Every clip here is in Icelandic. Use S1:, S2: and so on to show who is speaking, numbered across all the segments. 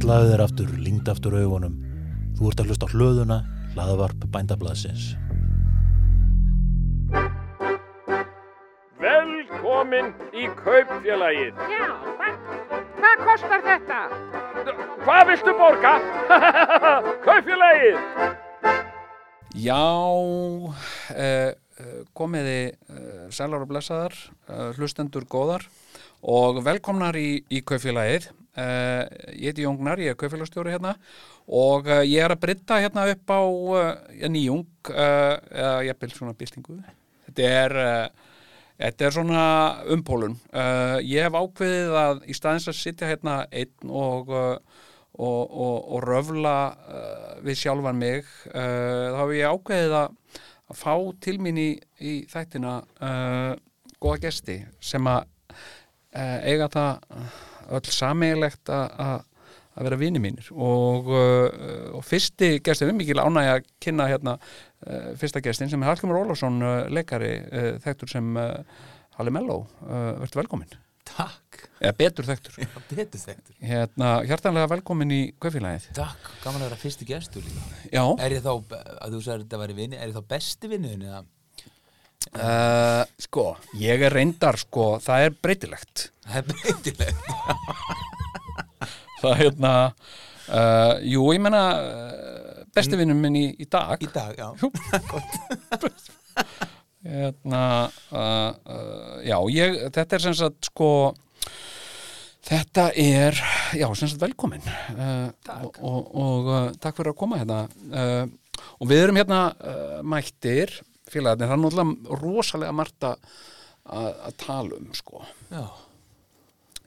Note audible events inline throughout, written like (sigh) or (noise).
S1: Slaðu þér aftur, lingd aftur augunum. Þú ert að hlusta á hlöðuna, hlaðvarp bændablasins.
S2: Velkomin í kaupfélagið.
S3: Já, hvað, hvað kostar þetta?
S2: Hvað viltu borga? (laughs) kaupfélagið.
S4: Já, eh, eh, komiði eh, sælar og blessaðar, eh, hlustendur góðar og velkomnar í, í kaufélagið. Eh, ég heiti Jóngnar, ég er kaufélagstjóri hérna og eh, ég er að brytta hérna upp á eh, nýjung, eh, eða ég bild svona byltingu. Þetta er, eh, þetta er svona umpólun. Eh, ég hef ákveðið að í staðins að sitja hérna einn og... Eh, og, og, og röfla uh, við sjálfan mig uh, þá hef ég ákveðið að, að fá til mín í, í þættina uh, góða gesti sem að uh, eiga það öll sameigilegt að að- að vera vini mínir og, uh, og fyrsti gestin, við mikil ánægja að kynna hérna uh, fyrsta gestin sem er Hallgrimur Ólafsson uh, leikari uh, þekktur sem uh, Halli Mello, uh, verður velkomin
S5: Takk,
S4: eða betur þekktur
S5: það betur þekktur
S4: hérna, hjartanlega velkomin í kaufélagið
S5: Takk, gaman að vera fyrsti gestur líka
S4: Já,
S5: Er ég þá, að þú sagði þetta væri vinni, er ég þá besti vinnuðin eða?
S4: uh, sko, ég er reyndar sko, það er breytilegt
S5: Það er breytilegt
S4: það er hérna uh, jú, ég menna uh, besti vinnum minn í, í dag
S5: Í dag, já
S4: Jú. hérna uh, uh, já, ég, þetta er sem sagt sko þetta er, já, sem sagt velkomin uh, takk og, og uh, takk fyrir að koma hérna uh, og við erum hérna uh, mættir félagarnir, það er náttúrulega rosalega margt að- að að tala um sko
S5: Já,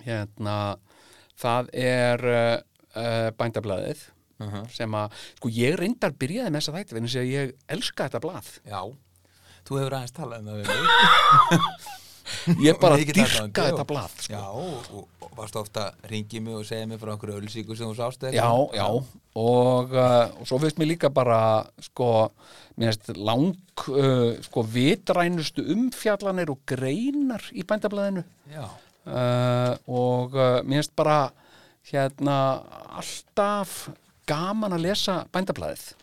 S4: hérna, það er uh, uh, bændablaðið sem að, sko ég reyndar byrjaði með þessa þætti, þannig að ég elska þetta blað
S5: já Þú hefur aðeins talað um það við (laughs) mig
S4: ég bara
S5: Mikill
S4: dyrka
S5: aðdáandi, já.
S4: þetta blað sko.
S5: Já, og, og varst ofta að ringi mig og segja mig frá einhverju ölsíku sem þú sást eða
S4: já,
S5: eitthvað?
S4: já, og, uh, og svo finnst mér líka bara, sko mér finnst lang uh, sko vitrænustu umfjallanir og greinar í bændablaðinu
S5: Já,
S4: uh, og uh, mér finnst bara hérna alltaf gaman að lesa bændablaðið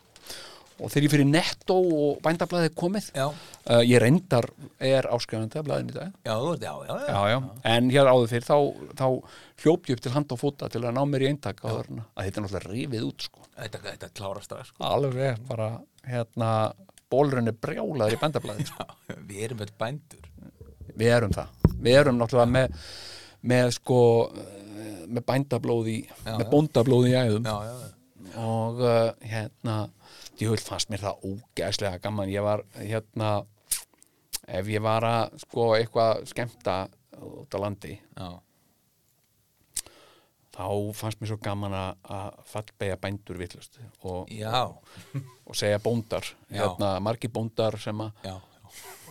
S4: og þegar ég fyrir nettó og bændablaðið er komið
S5: Já.
S4: uh, ég reyndar er áskrifandi að blaðinu í dag
S5: já, þú ert, já, já, já,
S4: já, já. en hér áður fyrir þá, þá hljóp ég upp til hand og fóta til að ná mér í eintak á þarna að þetta er náttúrulega rifið út sko.
S5: Þetta, þetta klárast það, sko (laughs)
S4: alveg bara hérna bólurinn er brjálaður í bændablaðið sko.
S5: Já, Við erum öll bændur
S4: við erum það við erum náttúrulega með, með sko eh, með bændablóð í
S5: Já,
S4: með
S5: já.
S4: bóndablóð í æðum
S5: Já, já, já
S4: og uh, hérna djúvel fannst mér það ógæslega gaman ég var hérna ef ég var að sko eitthvað skemmta út á landi
S5: Já,
S4: þá fannst mér svo gaman að- að fallbega bændur villust og,
S5: já,
S4: og segja bóndar
S5: Já.
S4: hérna margi bóndar sem að
S5: já,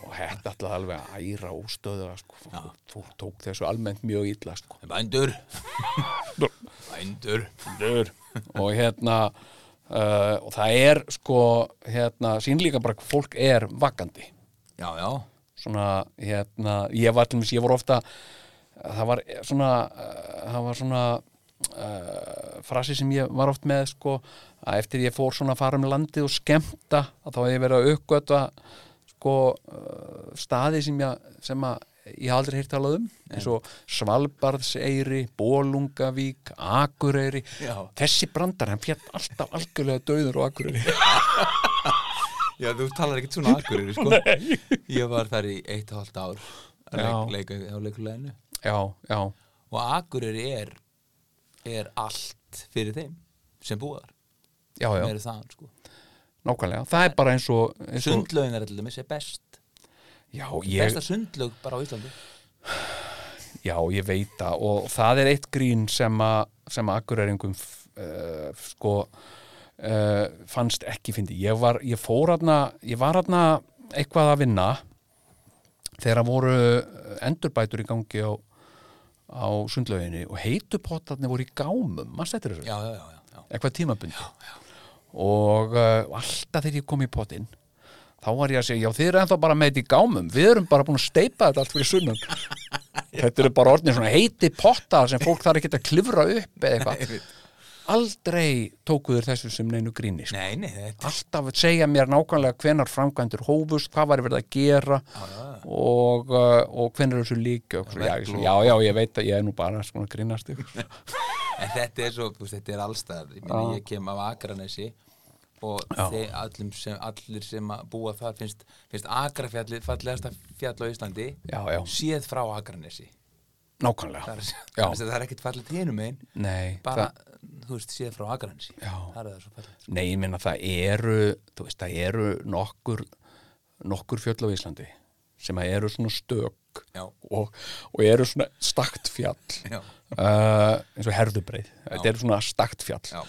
S4: og þetta alltaf alveg að æra óstöðu sko, fólk, fólk tók þessu almennt mjög illa sko (laughs)
S5: Bændur Bændur
S4: Dur. og hérna uh, og það er sko hérna, sínlíka bara hvað fólk er vakandi
S5: Já, já
S4: svona hérna, ég var til mér, ég voru ofta það var svona uh, það var svona uh, frasi sem ég var oft með sko, að eftir ég fór svona að fara um landið og skemmta, að þá hef ég verið að uppgöta sko uh, staði sem ég, sem að ég hef aldrei heyrt talað um, eins og Svalbarðseyri, Bólungavík Akureyri,
S5: Já.
S4: þessi brandar hann fjall alltaf algjörlega döður á Akureyri
S5: Já, þú talar ekkert svona akkurir, sko Ég var þar í eitt og halvt ár að
S4: Já.
S5: leik, leika á leikuleginu
S4: já, já,
S5: og akkurir er er allt fyrir þeim sem búar,
S4: já, já,
S5: meira þaðan, sko
S4: nákvæmlega það er bara eins og, eins og
S5: Sundlaugin er allir með sér best
S4: Já,
S5: Besta
S4: ég,
S5: sundlaug bara á Íslandi
S4: já, ég veit það og það er eitt grín sem að sem að akkuröringum uh, sko uh, fannst ekki fyndi. Ég var, ég fór aðna ég var aðna eitthvað að vinna þegar voru endurbætur í gangi á, á sundlauginni og heitupottarnir voru í gámum, maður stættir þessu
S5: Já, já, já, já, já.
S4: eitthvað tímabundi og uh, alltaf þegar ég kom í potinn þá var ég að segja, já þið eru ennþá bara með þetta í gámum við erum bara búin að steipa þetta allt fyrir
S5: (laughs)
S4: sunnan þetta eru bara orðin svona heiti potta sem fólk þarf ekki að klifra upp eða eitthvað aldrei tókuður þessu sem neinu gríni sko.
S5: Nei, nei, þetta
S4: alltaf að segja mér nákvæmlega hvenar framkvæmdur hófust, hvað var verið að gera og, uh, og hvenar þessu líka og, svo, já, ég- já, já, ég veit að ég er nú bara svona að grínast sko. ykkur
S5: (laughs) En þetta er svo, þú veist, þetta er allstaðar ég, meina, ég kem af Akranesi og þeir, allum sem, allir sem að búa þar finnst, finnst Akrafjallið fallegasta fjall á Íslandi
S4: Já, já.
S5: séð frá Akranesi
S4: nákvæmlega
S5: það er,
S4: Já.
S5: það er ekkert fallegt hinum einn
S4: Nei,
S5: bara,
S4: það,
S5: þú veist, séð frá Akranesi
S4: Já.
S5: það er það svo fallegt
S4: nei, ég minna það eru þú veist, það eru nokkur nokkur fjöll á Íslandi sem að eru svona stök
S5: Já.
S4: og, og eru svona stakt fjall
S5: Já.
S4: uh, eins og herðubreið þetta eru svona stakt fjall
S5: Já.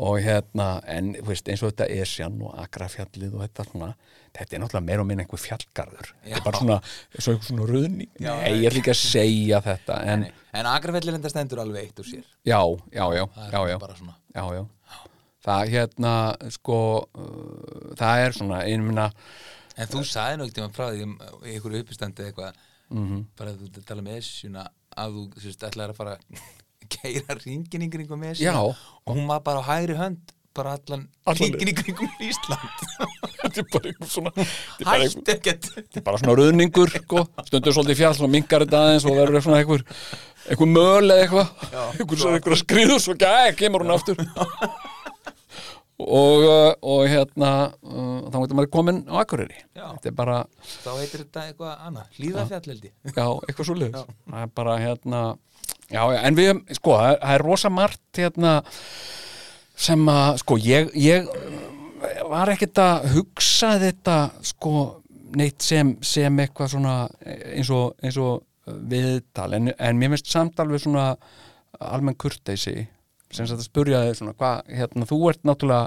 S4: og hérna, en þú veist, eins og þetta Esjan og Akrafjallið og þetta svona þetta er náttúrulega meira og minna einhver fjallgarður þetta
S5: Já.
S4: er bara svona, svo einhver svona röðni
S5: Já.
S4: nei, ég ætla ekki að segja þetta en,
S5: Nei, En Akrafjallið enda stendur alveg eitt úr sér
S4: já, já, já,
S5: Það er
S4: já, já.
S5: bara svona.
S4: já, já það hérna, sko uh, það er svona, einmina
S5: En þú sagði nú ekkert um frá því um, í einhverju uppistandi eða eitthvað mm -hmm. bara þú ert að tala með Esjuna að þú þú veist, ætlaðir að (laughs) fara keira ringin í kringum Esjuna
S4: Já.
S5: og hún var bara á hægri hönd bara allan,
S4: Allan
S5: allan ringin í kringum (laughs) Ísland
S4: (laughs) þetta er bara einhver svona þetta er bara einhver-
S5: Hætt ekkert
S4: þetta er bara svona röðningur, sko stundur svolítið fjall og minkar þetta aðeins og verður svona einhver, einhver möl eða eitthvað einhver svo einhver skriður svo gæ, kemur hún aftur og, uh, og hérna uh, þá getur maður komin á Akureyri
S5: Já.
S4: þetta er bara,
S5: Þá heitir þetta eitthvað annað, hlýðafjallaldi
S4: já, eitthvað svo liður það er bara hérna já, já, en við, sko, það er- það er rosa margt hérna sem að, sko, ég, ég uh, var ekkert að hugsa þetta, sko, neitt sem, sem eitthvað svona eh, eins og, eins og uh, viðtal en, en mér finnst samt alveg svona almenn kurteisi sem sagt að spurja þig svona, hvað, hérna, þú ert náttúrulega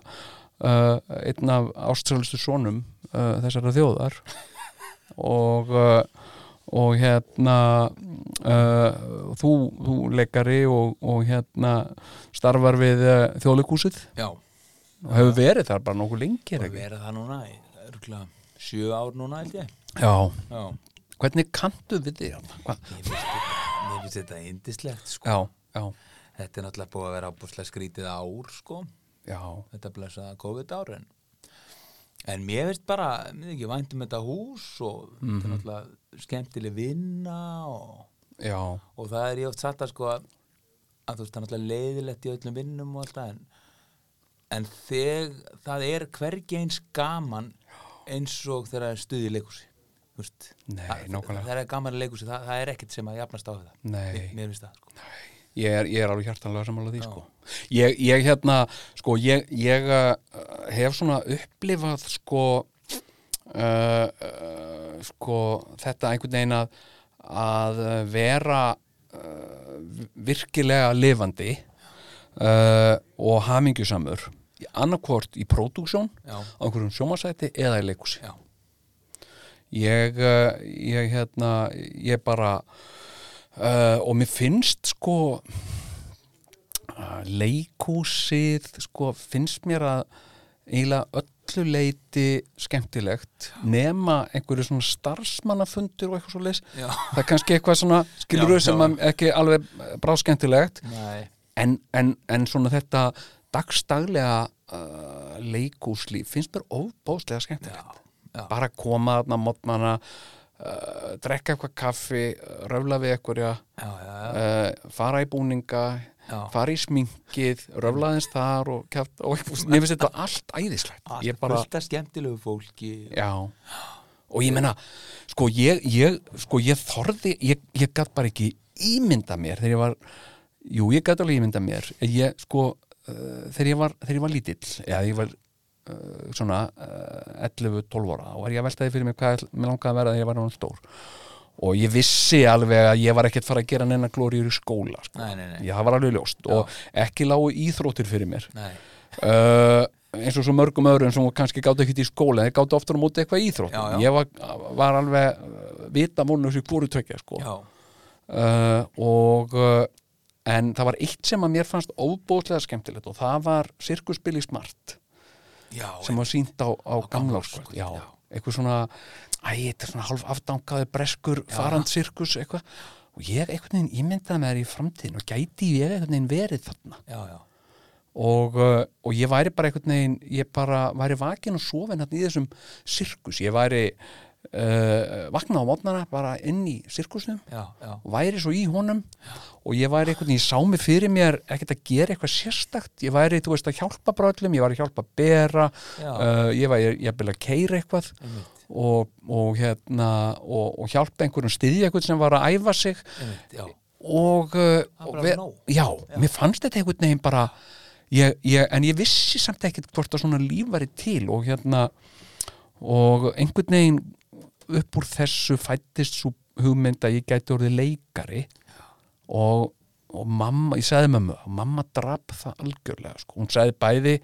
S4: uh, einn af ástsölustu sonum uh, þessara þjóðar og uh, og hérna uh, þú, þú leikari og, og hérna starfar við uh, þjóðleikúsið
S5: Já,
S4: og hefur verið þar bara nokkuð lengi er
S5: og
S4: ekki?
S5: vera það núna í örgulega sjö ár núna held ég
S4: Já,
S5: Já,
S4: hvernig kanntu við þig? hérna? Hva-
S5: ég finnst þetta, mér finnst þetta indislegt sko
S4: Já, já,
S5: Þetta er náttúrulega búið að vera ábúrslega skrítið ár sko
S4: já
S5: þetta blessaða COVID ár en, en mér veist bara mér ekki væntum þetta hús og þetta
S4: Mhm.
S5: er náttúrulega skemmtileg vinna og,
S4: Já,
S5: og það er ég oft satt að sko að að þú veist það er náttúrulega leiðilegt í öllum vinnum og alltaf en, en þeg, það er hvergi eins gaman eins og þegar það er stuð í leikhúsi Þú veist,
S4: Nei,
S5: það,
S4: nákvæmlega.
S5: það er gaman í leikhúsi, það, það er ekkert sem að jafnast á við það
S4: Nei.
S5: Mér- mér finnst það sko.
S4: ég er, ég er alveg hjartanlega sammála því, sko ég, ég hérna, sko, ég, ég uh, hef svona upplifað, sko uh, uh, sko, þetta einhvern veginn að að uh, vera uh, virkilega lifandi uh, og hamingjusamur annarkvort í pródúksjón
S5: Já.
S4: á einhverjum sjómasæti eða í leikúsi
S5: Já.
S4: ég, uh, ég hérna ég bara uh, og mér finnst sko uh, leikúsið sko finnst mér að eiginlega öllu leiti skemmtilegt nema einhverju svona starfsmannafundur og eitthvað svo leis
S5: Já.
S4: það er kannski eitthvað svona skilur
S5: Já,
S4: sem
S5: já.
S4: að ekki alveg brá skemmtilegt
S5: Nei.
S4: en, en, en svona þetta dagstaglega uh, leikúslíf finnst mér ofbóðslega skemmtilegt
S5: Já, já.
S4: bara koma þarna mótmana uh, drekka eitthvað kaffi uh, röfla við eitthvað
S5: Já, já, já.
S4: uh, fara í búninga
S5: Já.
S4: fara í sminkið, röfla þess þar og, kjaft, og eitthvað, mér finnst þetta allt æðislegt
S5: Allt
S4: ég bara,
S5: fullt af skemmtilegu fólki
S4: já og ég meina, sko ég, ég sko ég þorði, ég, ég gat bara ekki ímynda mér þegar ég var jú, ég gat alveg ímynda mér En ég, sko, uh, þegar ég var þegar ég var lítill, eða ég var uh, svona uh, 11-12 ára og var ég að veltaði fyrir mér hvað mér langaði að vera þegar ég var náttúrulega stór og ég vissi alveg að ég var ekkert fara að gera neina glóriur í skóla sko.
S5: Nei, nei, nei.
S4: Ég, það var alveg ljóst og ekki lágu íþróttir fyrir mér
S5: Nei.
S4: uh, eins og svo mörgum öðrum sem kannski gáttu ekkert í skóla en þeir gáttu oftar á móti eitthvað í íþrótt
S5: Já, já.
S4: ég var, var alveg uh, vita múlnus í hvoru tökja sko. uh,
S5: Já,
S4: og uh, en það var eitt sem að mér fannst óbóðslega skemmtilegt og það var sirkusbili smart
S5: já,
S4: sem var sínt á, á
S5: sko.
S4: gamlárskvöld já, eitthvað svona æ, þetta er svona hálf afdangaði breskur farand sirkus eitthvað og ég einhvern veginn ímyndaði með þér í framtíðin og gæti ég einhvern veginn verið þarna
S5: já, já.
S4: og, uh, og ég væri bara einhvern veginn ég bara væri vakin og sofin hérna í þessum sirkus, ég væri uh, vaknað á mótnana bara inn í sirkusnum
S5: já, já,
S4: væri svo í honum og ég væri einhvern veginn, ég sá mig fyrir mér ekkert að gera eitthvað sérstakt, ég væri, þú veist, að hjálpa bröllum, ég væri að hjálpa að bera
S5: Já.
S4: uh, ég væri jafnvel að keira eitthvað
S5: Einmitt.
S4: og, og hérna og, og hjálpa einhverjum styðja eitthvað sem var að æfa sig
S5: einmitt, já
S4: og, uh,
S5: Það
S4: og
S5: bara
S4: við,
S5: nóg.
S4: já, mér fannst þetta einhvern veginn bara ég, ég, en ég vissi samt ekkert hvort að svona líf væri til og hérna og einhvern veginn upp úr þessu fættist svo hugmynd að ég gæti orðið leikari og, og mamma, ég sagði mömmu og mamma drap það algjörlega sko. hún sagði bæði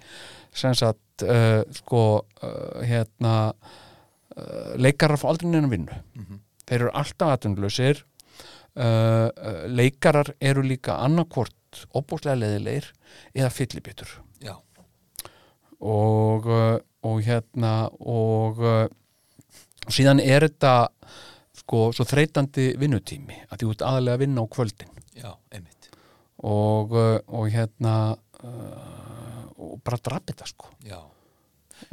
S4: sem sagt uh, sko uh, hérna uh, leikarar fá aldrei neina vinnu
S5: Mhm.
S4: þeir eru alltaf atunlausir uh, uh, leikarar eru líka annarkvort opbúslega leðilegir eða fyllibittur
S5: já,
S4: og, uh, og hérna og, uh, og síðan er þetta sko svo þreytandi vinnutími að því út aðalega að vinna á kvöldin
S5: já, einmitt
S4: og, uh, og hérna uh, og bara drap þetta sko
S5: já.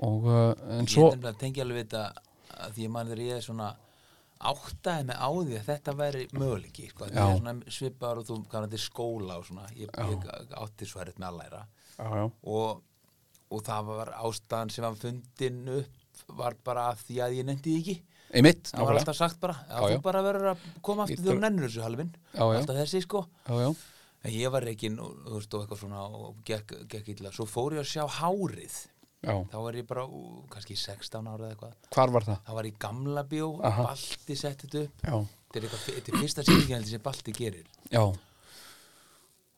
S4: og uh, en
S5: Svo...
S4: svo
S5: ég nefnilega tengi alveg við þetta að því ég mann þegar ég er svona áttaði með á því að þetta væri möguleiki sko.
S4: Já.
S5: það er svona svipar og þú kannan til skóla og svona ég, ég átti svo erut með að læra
S4: já, já,
S5: og, og það var ástæðan sem var fundin upp var bara að því að ég nefndi því ekki
S4: einmitt
S5: það var
S4: nákvæmlega.
S5: alltaf sagt bara að
S4: Já,
S5: þú
S4: já.
S5: bara verður að koma aftur
S4: Ég
S5: þegar
S4: tel-
S5: þú nennir þessu halvin
S4: Já, já.
S5: alltaf þessi sko
S4: já, já,
S5: en ég var reikin og, þú veist, og eitthvað svona og gekk, gekk illa svo fór ég að sjá hárið
S4: já,
S5: þá var ég bara ú, kannski 16 ára eða eitthvað
S4: hvar var það?
S5: það var í gamla bjó,
S4: Aha.
S5: Balti sett þetta upp
S4: já,
S5: þetta er, eitthvað, þetta er fyrsta sýningjaldi sem Balti gerir
S4: já,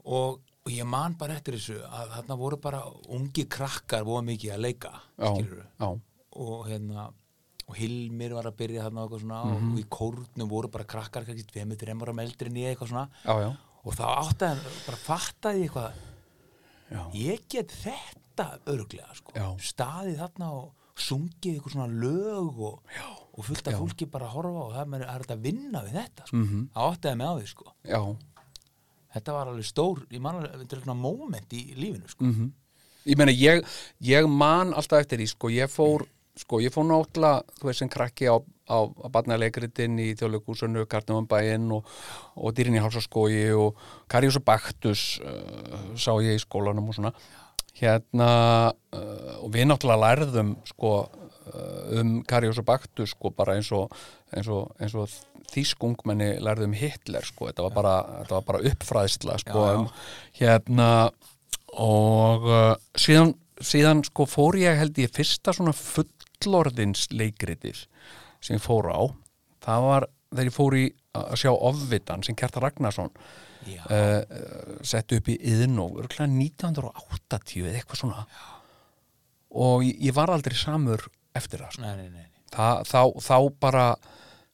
S5: og, og ég man bara eftir þessu að þarna voru bara ungi krakkar voru mikið að leika
S4: já,
S5: skilurðu.
S4: já,
S5: og hérna og Hilmir var að byrja þarna og eitthvað svona
S4: Mhm.
S5: og í kórnum voru bara krakkar kannski 2-3 ára meldri nýja eitthvað svona
S4: já, já,
S5: og þá áttaði, bara fattaði ég eitthvað
S4: Já.
S5: ég get þetta örglega sko.
S4: Já.
S5: staðið þarna og sungið eitthvað svona lög og, og fullt af fólki bara að horfa og það er, það er þetta að vinna við þetta sko. mm
S4: Mhm.
S5: -hmm. áttaði mig á því sko.
S4: já.
S5: þetta var alveg stór, ég man alveg þetta er svona moment í lífinu sko. mm -hmm.
S4: ég meina ég, ég man alltaf eftir því sko ég fór sko ég fór náttúrulega þú veist sem krakki á, á, á barnalegritin í þjóðleikúsunu Karnumanbæinn og, og dýrin í hálsaskói og Karius og Baktus uh, sá ég í skólanum og svona hérna uh, og við náttúrulega lærðum sko uh, um Karius og Baktus sko bara eins og, eins og, eins og þýskungmenni lærðum Hitler sko þetta var bara, þetta var bara uppfræðsla sko Um, hérna og uh, síðan, síðan sko fór ég held ég fyrsta svona fullorðins leikritir sem ég fór á það var þegar ég fór í að sjá ofvitan sem Kjartar Ragnarsson
S5: Já.
S4: uh, sett upp í yðnóf örgulega 1980 eða eitthvað svona og ég, ég var aldrei samur eftir það sko.
S5: nei, nei, nei, nei.
S4: Þa, þá, þá bara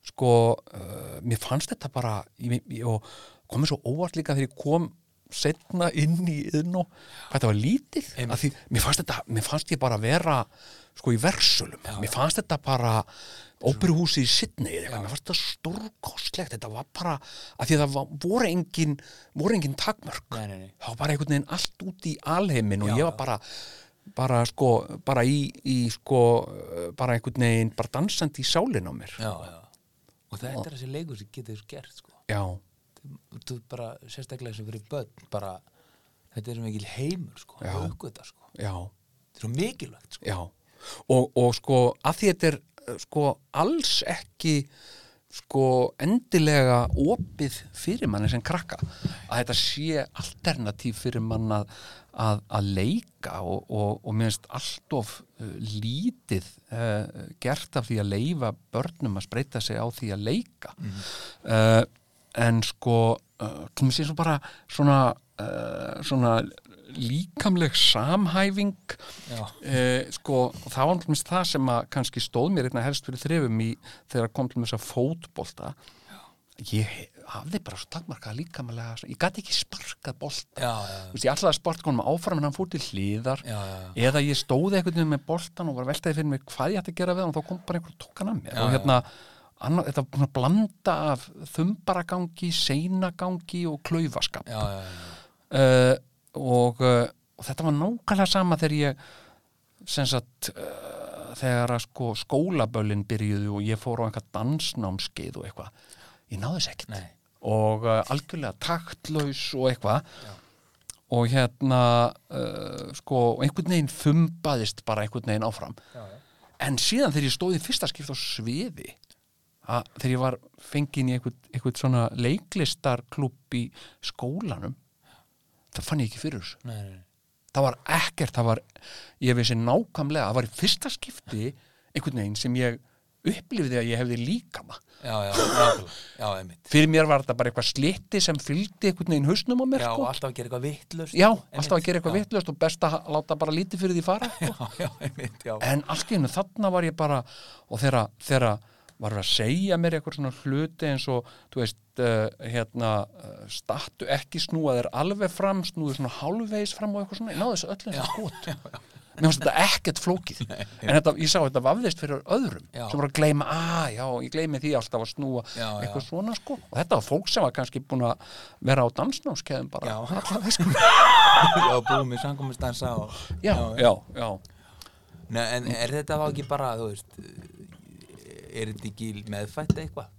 S4: sko, uh, mér fannst þetta bara ég, ég, og komið svo óvart líka þegar ég kom setna inn í inn og þetta var lítið að því, mér fannst þetta, mér fannst ég bara vera sko í versölum, mér fannst þetta bara óperuhúsi í Sydney eða eitthvað, mér fannst þetta stórkostlegt þetta var bara, að því að það var, voru engin, voru engin takmörk
S5: Nei, nei, nei.
S4: það var bara einhvern veginn allt út í alheimin og
S5: Já,
S4: ég var
S5: já.
S4: bara bara sko, bara í, í sko, bara einhvern veginn bara dansandi í sálinn á mér
S5: Já, já. og þetta er þessi leikur sem getur gert sko.
S4: já,
S5: þú bara sérstaklega sem fyrir börn bara, þetta er svo mikil heimur sko,
S4: Já.
S5: að aukvita sko
S4: já,
S5: þetta er svo mikilvægt sko
S4: já. Og, og sko, að því þetta er eh, sko alls ekki sko endilega opið fyrir manni sem krakka að þetta sé alternatív fyrir mann að, að, að leika og, og, og mér finnst allt of eh, lítið uh, gert af því að leifa börnum að spreita sig á því að leika mm. en sko uh, kemur sér svo bara svona, uh, svona líkamleg samhæfing uh, sko, og það var alveg það sem að kannski stóð mér einna helst fyrir þrefum í þegar kom til með þess að fótbolta ég he- hafði bara svo takmarkað líkamlega ég gæti ekki sparkað bolta
S5: já, já,
S4: Þú veist, ég ætlaði að sparka honum áfram en hann fór til hliðar
S5: Já, já, já.
S4: eða ég stóði einhvern veginn með boltan og var veltaði fyrir mig hvað ég ætti að gera við hann og þá kom bara einhver og tók hann að mér og hérna, annar, þetta var búin að blanda af þumbaragangi, seinagangi og klaufaskap
S5: já, já, já, já.
S4: uh, og, uh, og þetta var nákvæmlega sama þegar ég sem sagt uh, þegar að sko skólaböllin byrjuðu og ég fór á eitthvað dansnámskeið og eitthvað, ég náði þess ekkert
S5: Nei.
S4: og uh, algjörlega taktlaus og eitthvað og hérna uh, sko, og einhvern veginn fumbaðist bara einhvern veginn áfram já, já. en síðan þegar ég stóði fyrsta skipt á sviði að þegar ég var fengin í einhvern, einhvern svona leiklistarklúpp í skólanum það fann ég ekki fyrir þessu
S5: Nei, nei, nei.
S4: það var ekkert, það var ég vissi nákvæmlega, það var í fyrsta skipti einhvern veginn sem ég upplifði að ég hefði líka maður
S5: Já, já, nákvæmlega. já, einmitt.
S4: fyrir mér var þetta bara eitthvað slitti sem fylgdi einhvern veginn hausnum á mér
S5: Já, og
S4: sko.
S5: alltaf að gera eitthvað vittlust.
S4: já, alltaf að gera eitthvað vittlust og best að ha- láta bara lítið fyrir því fara sko.
S5: Já, já, einmitt, já.
S4: en allt í hennu þarna var ég bara og þegar, þegar var að segja mér eitthvað svona hluti eins og þú veist, uh, hérna uh, stattu ekki snúa þér alveg fram snúðu svona hálfvegis fram og eitthvað svona ég náðu þessu sko. öllum þessu gott mér fannst þetta ekkert flókið en þetta, ég sá þetta vafðist fyrir öðrum
S5: Já.
S4: sem voru að gleyma, að já, ég gleymi því alltaf að snúa
S5: Já, já.
S4: eitthvað svona sko og þetta var fólk sem var kannski búin að vera á dansnámskeiðum bara
S5: Já. (laughs)
S4: Alla, sko.
S5: Já, búið með samkominnstansa og...
S4: já, já, já,
S5: Nei, en er þetta þá ekki bara, þú veist, er þetta ekki meðfætt eitthvað?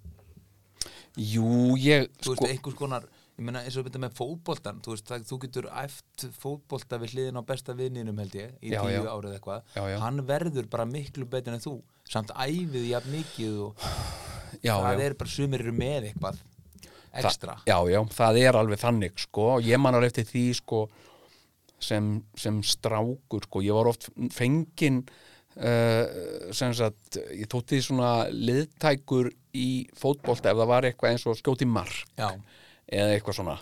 S4: jú, ég sko,
S5: Þú veist, einhvers konar, ég meina eins og þetta með fótboltan, þú veist, það, þú getur æft fótbolta við hliðin á besta viðninum held ég, í
S4: Já,
S5: tíu
S4: já.
S5: árið eitthvað,
S4: Já, já.
S5: hann verður bara miklu betur en þú, samt æfið jafn mikið og
S4: já, já.
S5: það er bara sumir eru með eitthvað ekstra.
S4: Þa, já, já, það er alveg þannig sko, og ég man alveg eftir því sko sem, sem strákur sko, ég var oft fengin uh, sem sagt ég þótti svona liðtækur í fótbolta ef það var eitthvað eins og skjóti mark
S5: Já,
S4: eða eitthvað svona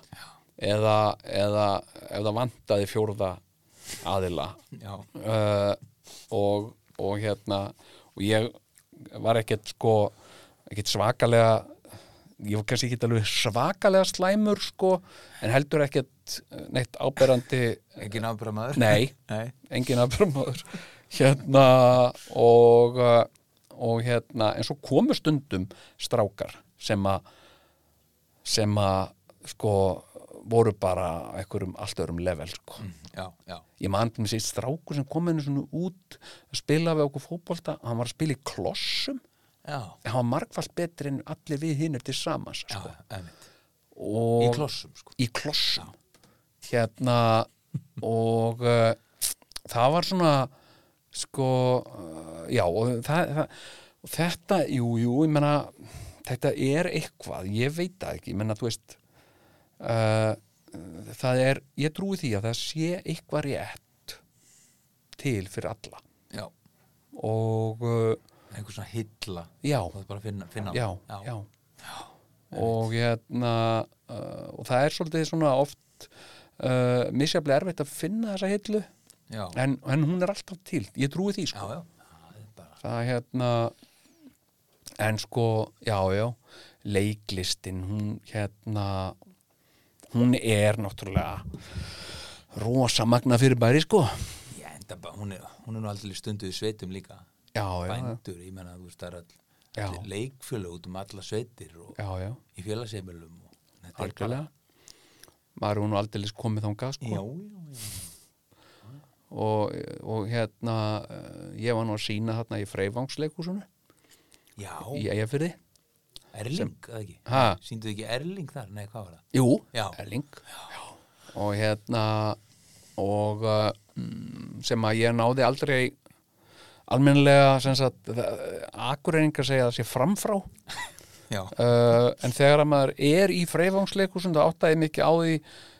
S4: eða, eða ef það vantaði fjórða aðila
S5: já,
S4: uh, og, og hérna og ég var ekkert sko ekkert svakalega ég var kannski ekkert alveg svakalega slæmur sko, en heldur ekkert eh, neitt áberandi
S5: ekki nábæra maður.
S4: nei,
S5: Nei.
S4: engin afbrömmaður (laughs) hérna og, uh, og hérna en svo komu stundum strákar sem að sem að sko voru bara á einhverjum allt öðrum level sko
S5: Já, já,
S4: ég man til mér sér strákur sem kom henni svona út að spila við okkur fótbolta hann var að spila í klossum
S5: já,
S4: hann var margfald betri en allir við hinnur til samans
S5: já,
S4: sko.
S5: einmitt.
S4: og
S5: Í klossum, sko.
S4: í klossum hérna og uh, það var svona sko uh, já og það, það, og þetta jú, jú, ég menna þetta er eitthvað, ég veit það ekki ég menna, þú veist uh, það er, ég trúi því að það sé eitthvað rétt til fyrir alla
S5: Já,
S4: og uh,
S5: einhver svona hylla.
S4: já,
S5: Það er bara að finna, finna
S4: já,
S5: hann.
S4: já. og hérna uh, og það er svolítið svona oft uh, misjaflega erfitt að finna þessa hillu
S5: já, já,
S4: en, en hún er alltaf til, ég trúi því sko.
S5: já,
S4: það hérna en sko, já, já leiklistin, hún hérna hún er náttúrulega rosa magna fyrirbæri sko
S5: Ég enda bara, hún er, hún er nú aldrei stunduð í sveitum líka.
S4: já, já, já,
S5: Bændur, ég menna, þú veist, það er all,
S4: Já.
S5: all leikfjölu út um alla sveitir og
S4: já, já
S5: í félagseimilum og þetta er
S4: algjörlega maður er nú aldrei komið þangað sko
S5: bara- Já, já, já.
S4: og, og hérna eh, ég var nú að sína þarna í Freyvangsleikúsinu í
S5: Já,
S4: Eyjafyrði
S5: Erling, eða ekki?
S4: Ha?
S5: Sýndu ekki Erling þar? Nei, hvað var það?
S4: Jú,
S5: Já.
S4: Erling og hérna og eh, mm, sem að ég náði aldrei almennilega sem sagt akureyringar segja það sé framfrá (laughs)
S5: Já,
S4: uh, en þegar að maður er í Freyvangsleikúsinu það áttaði mikið á því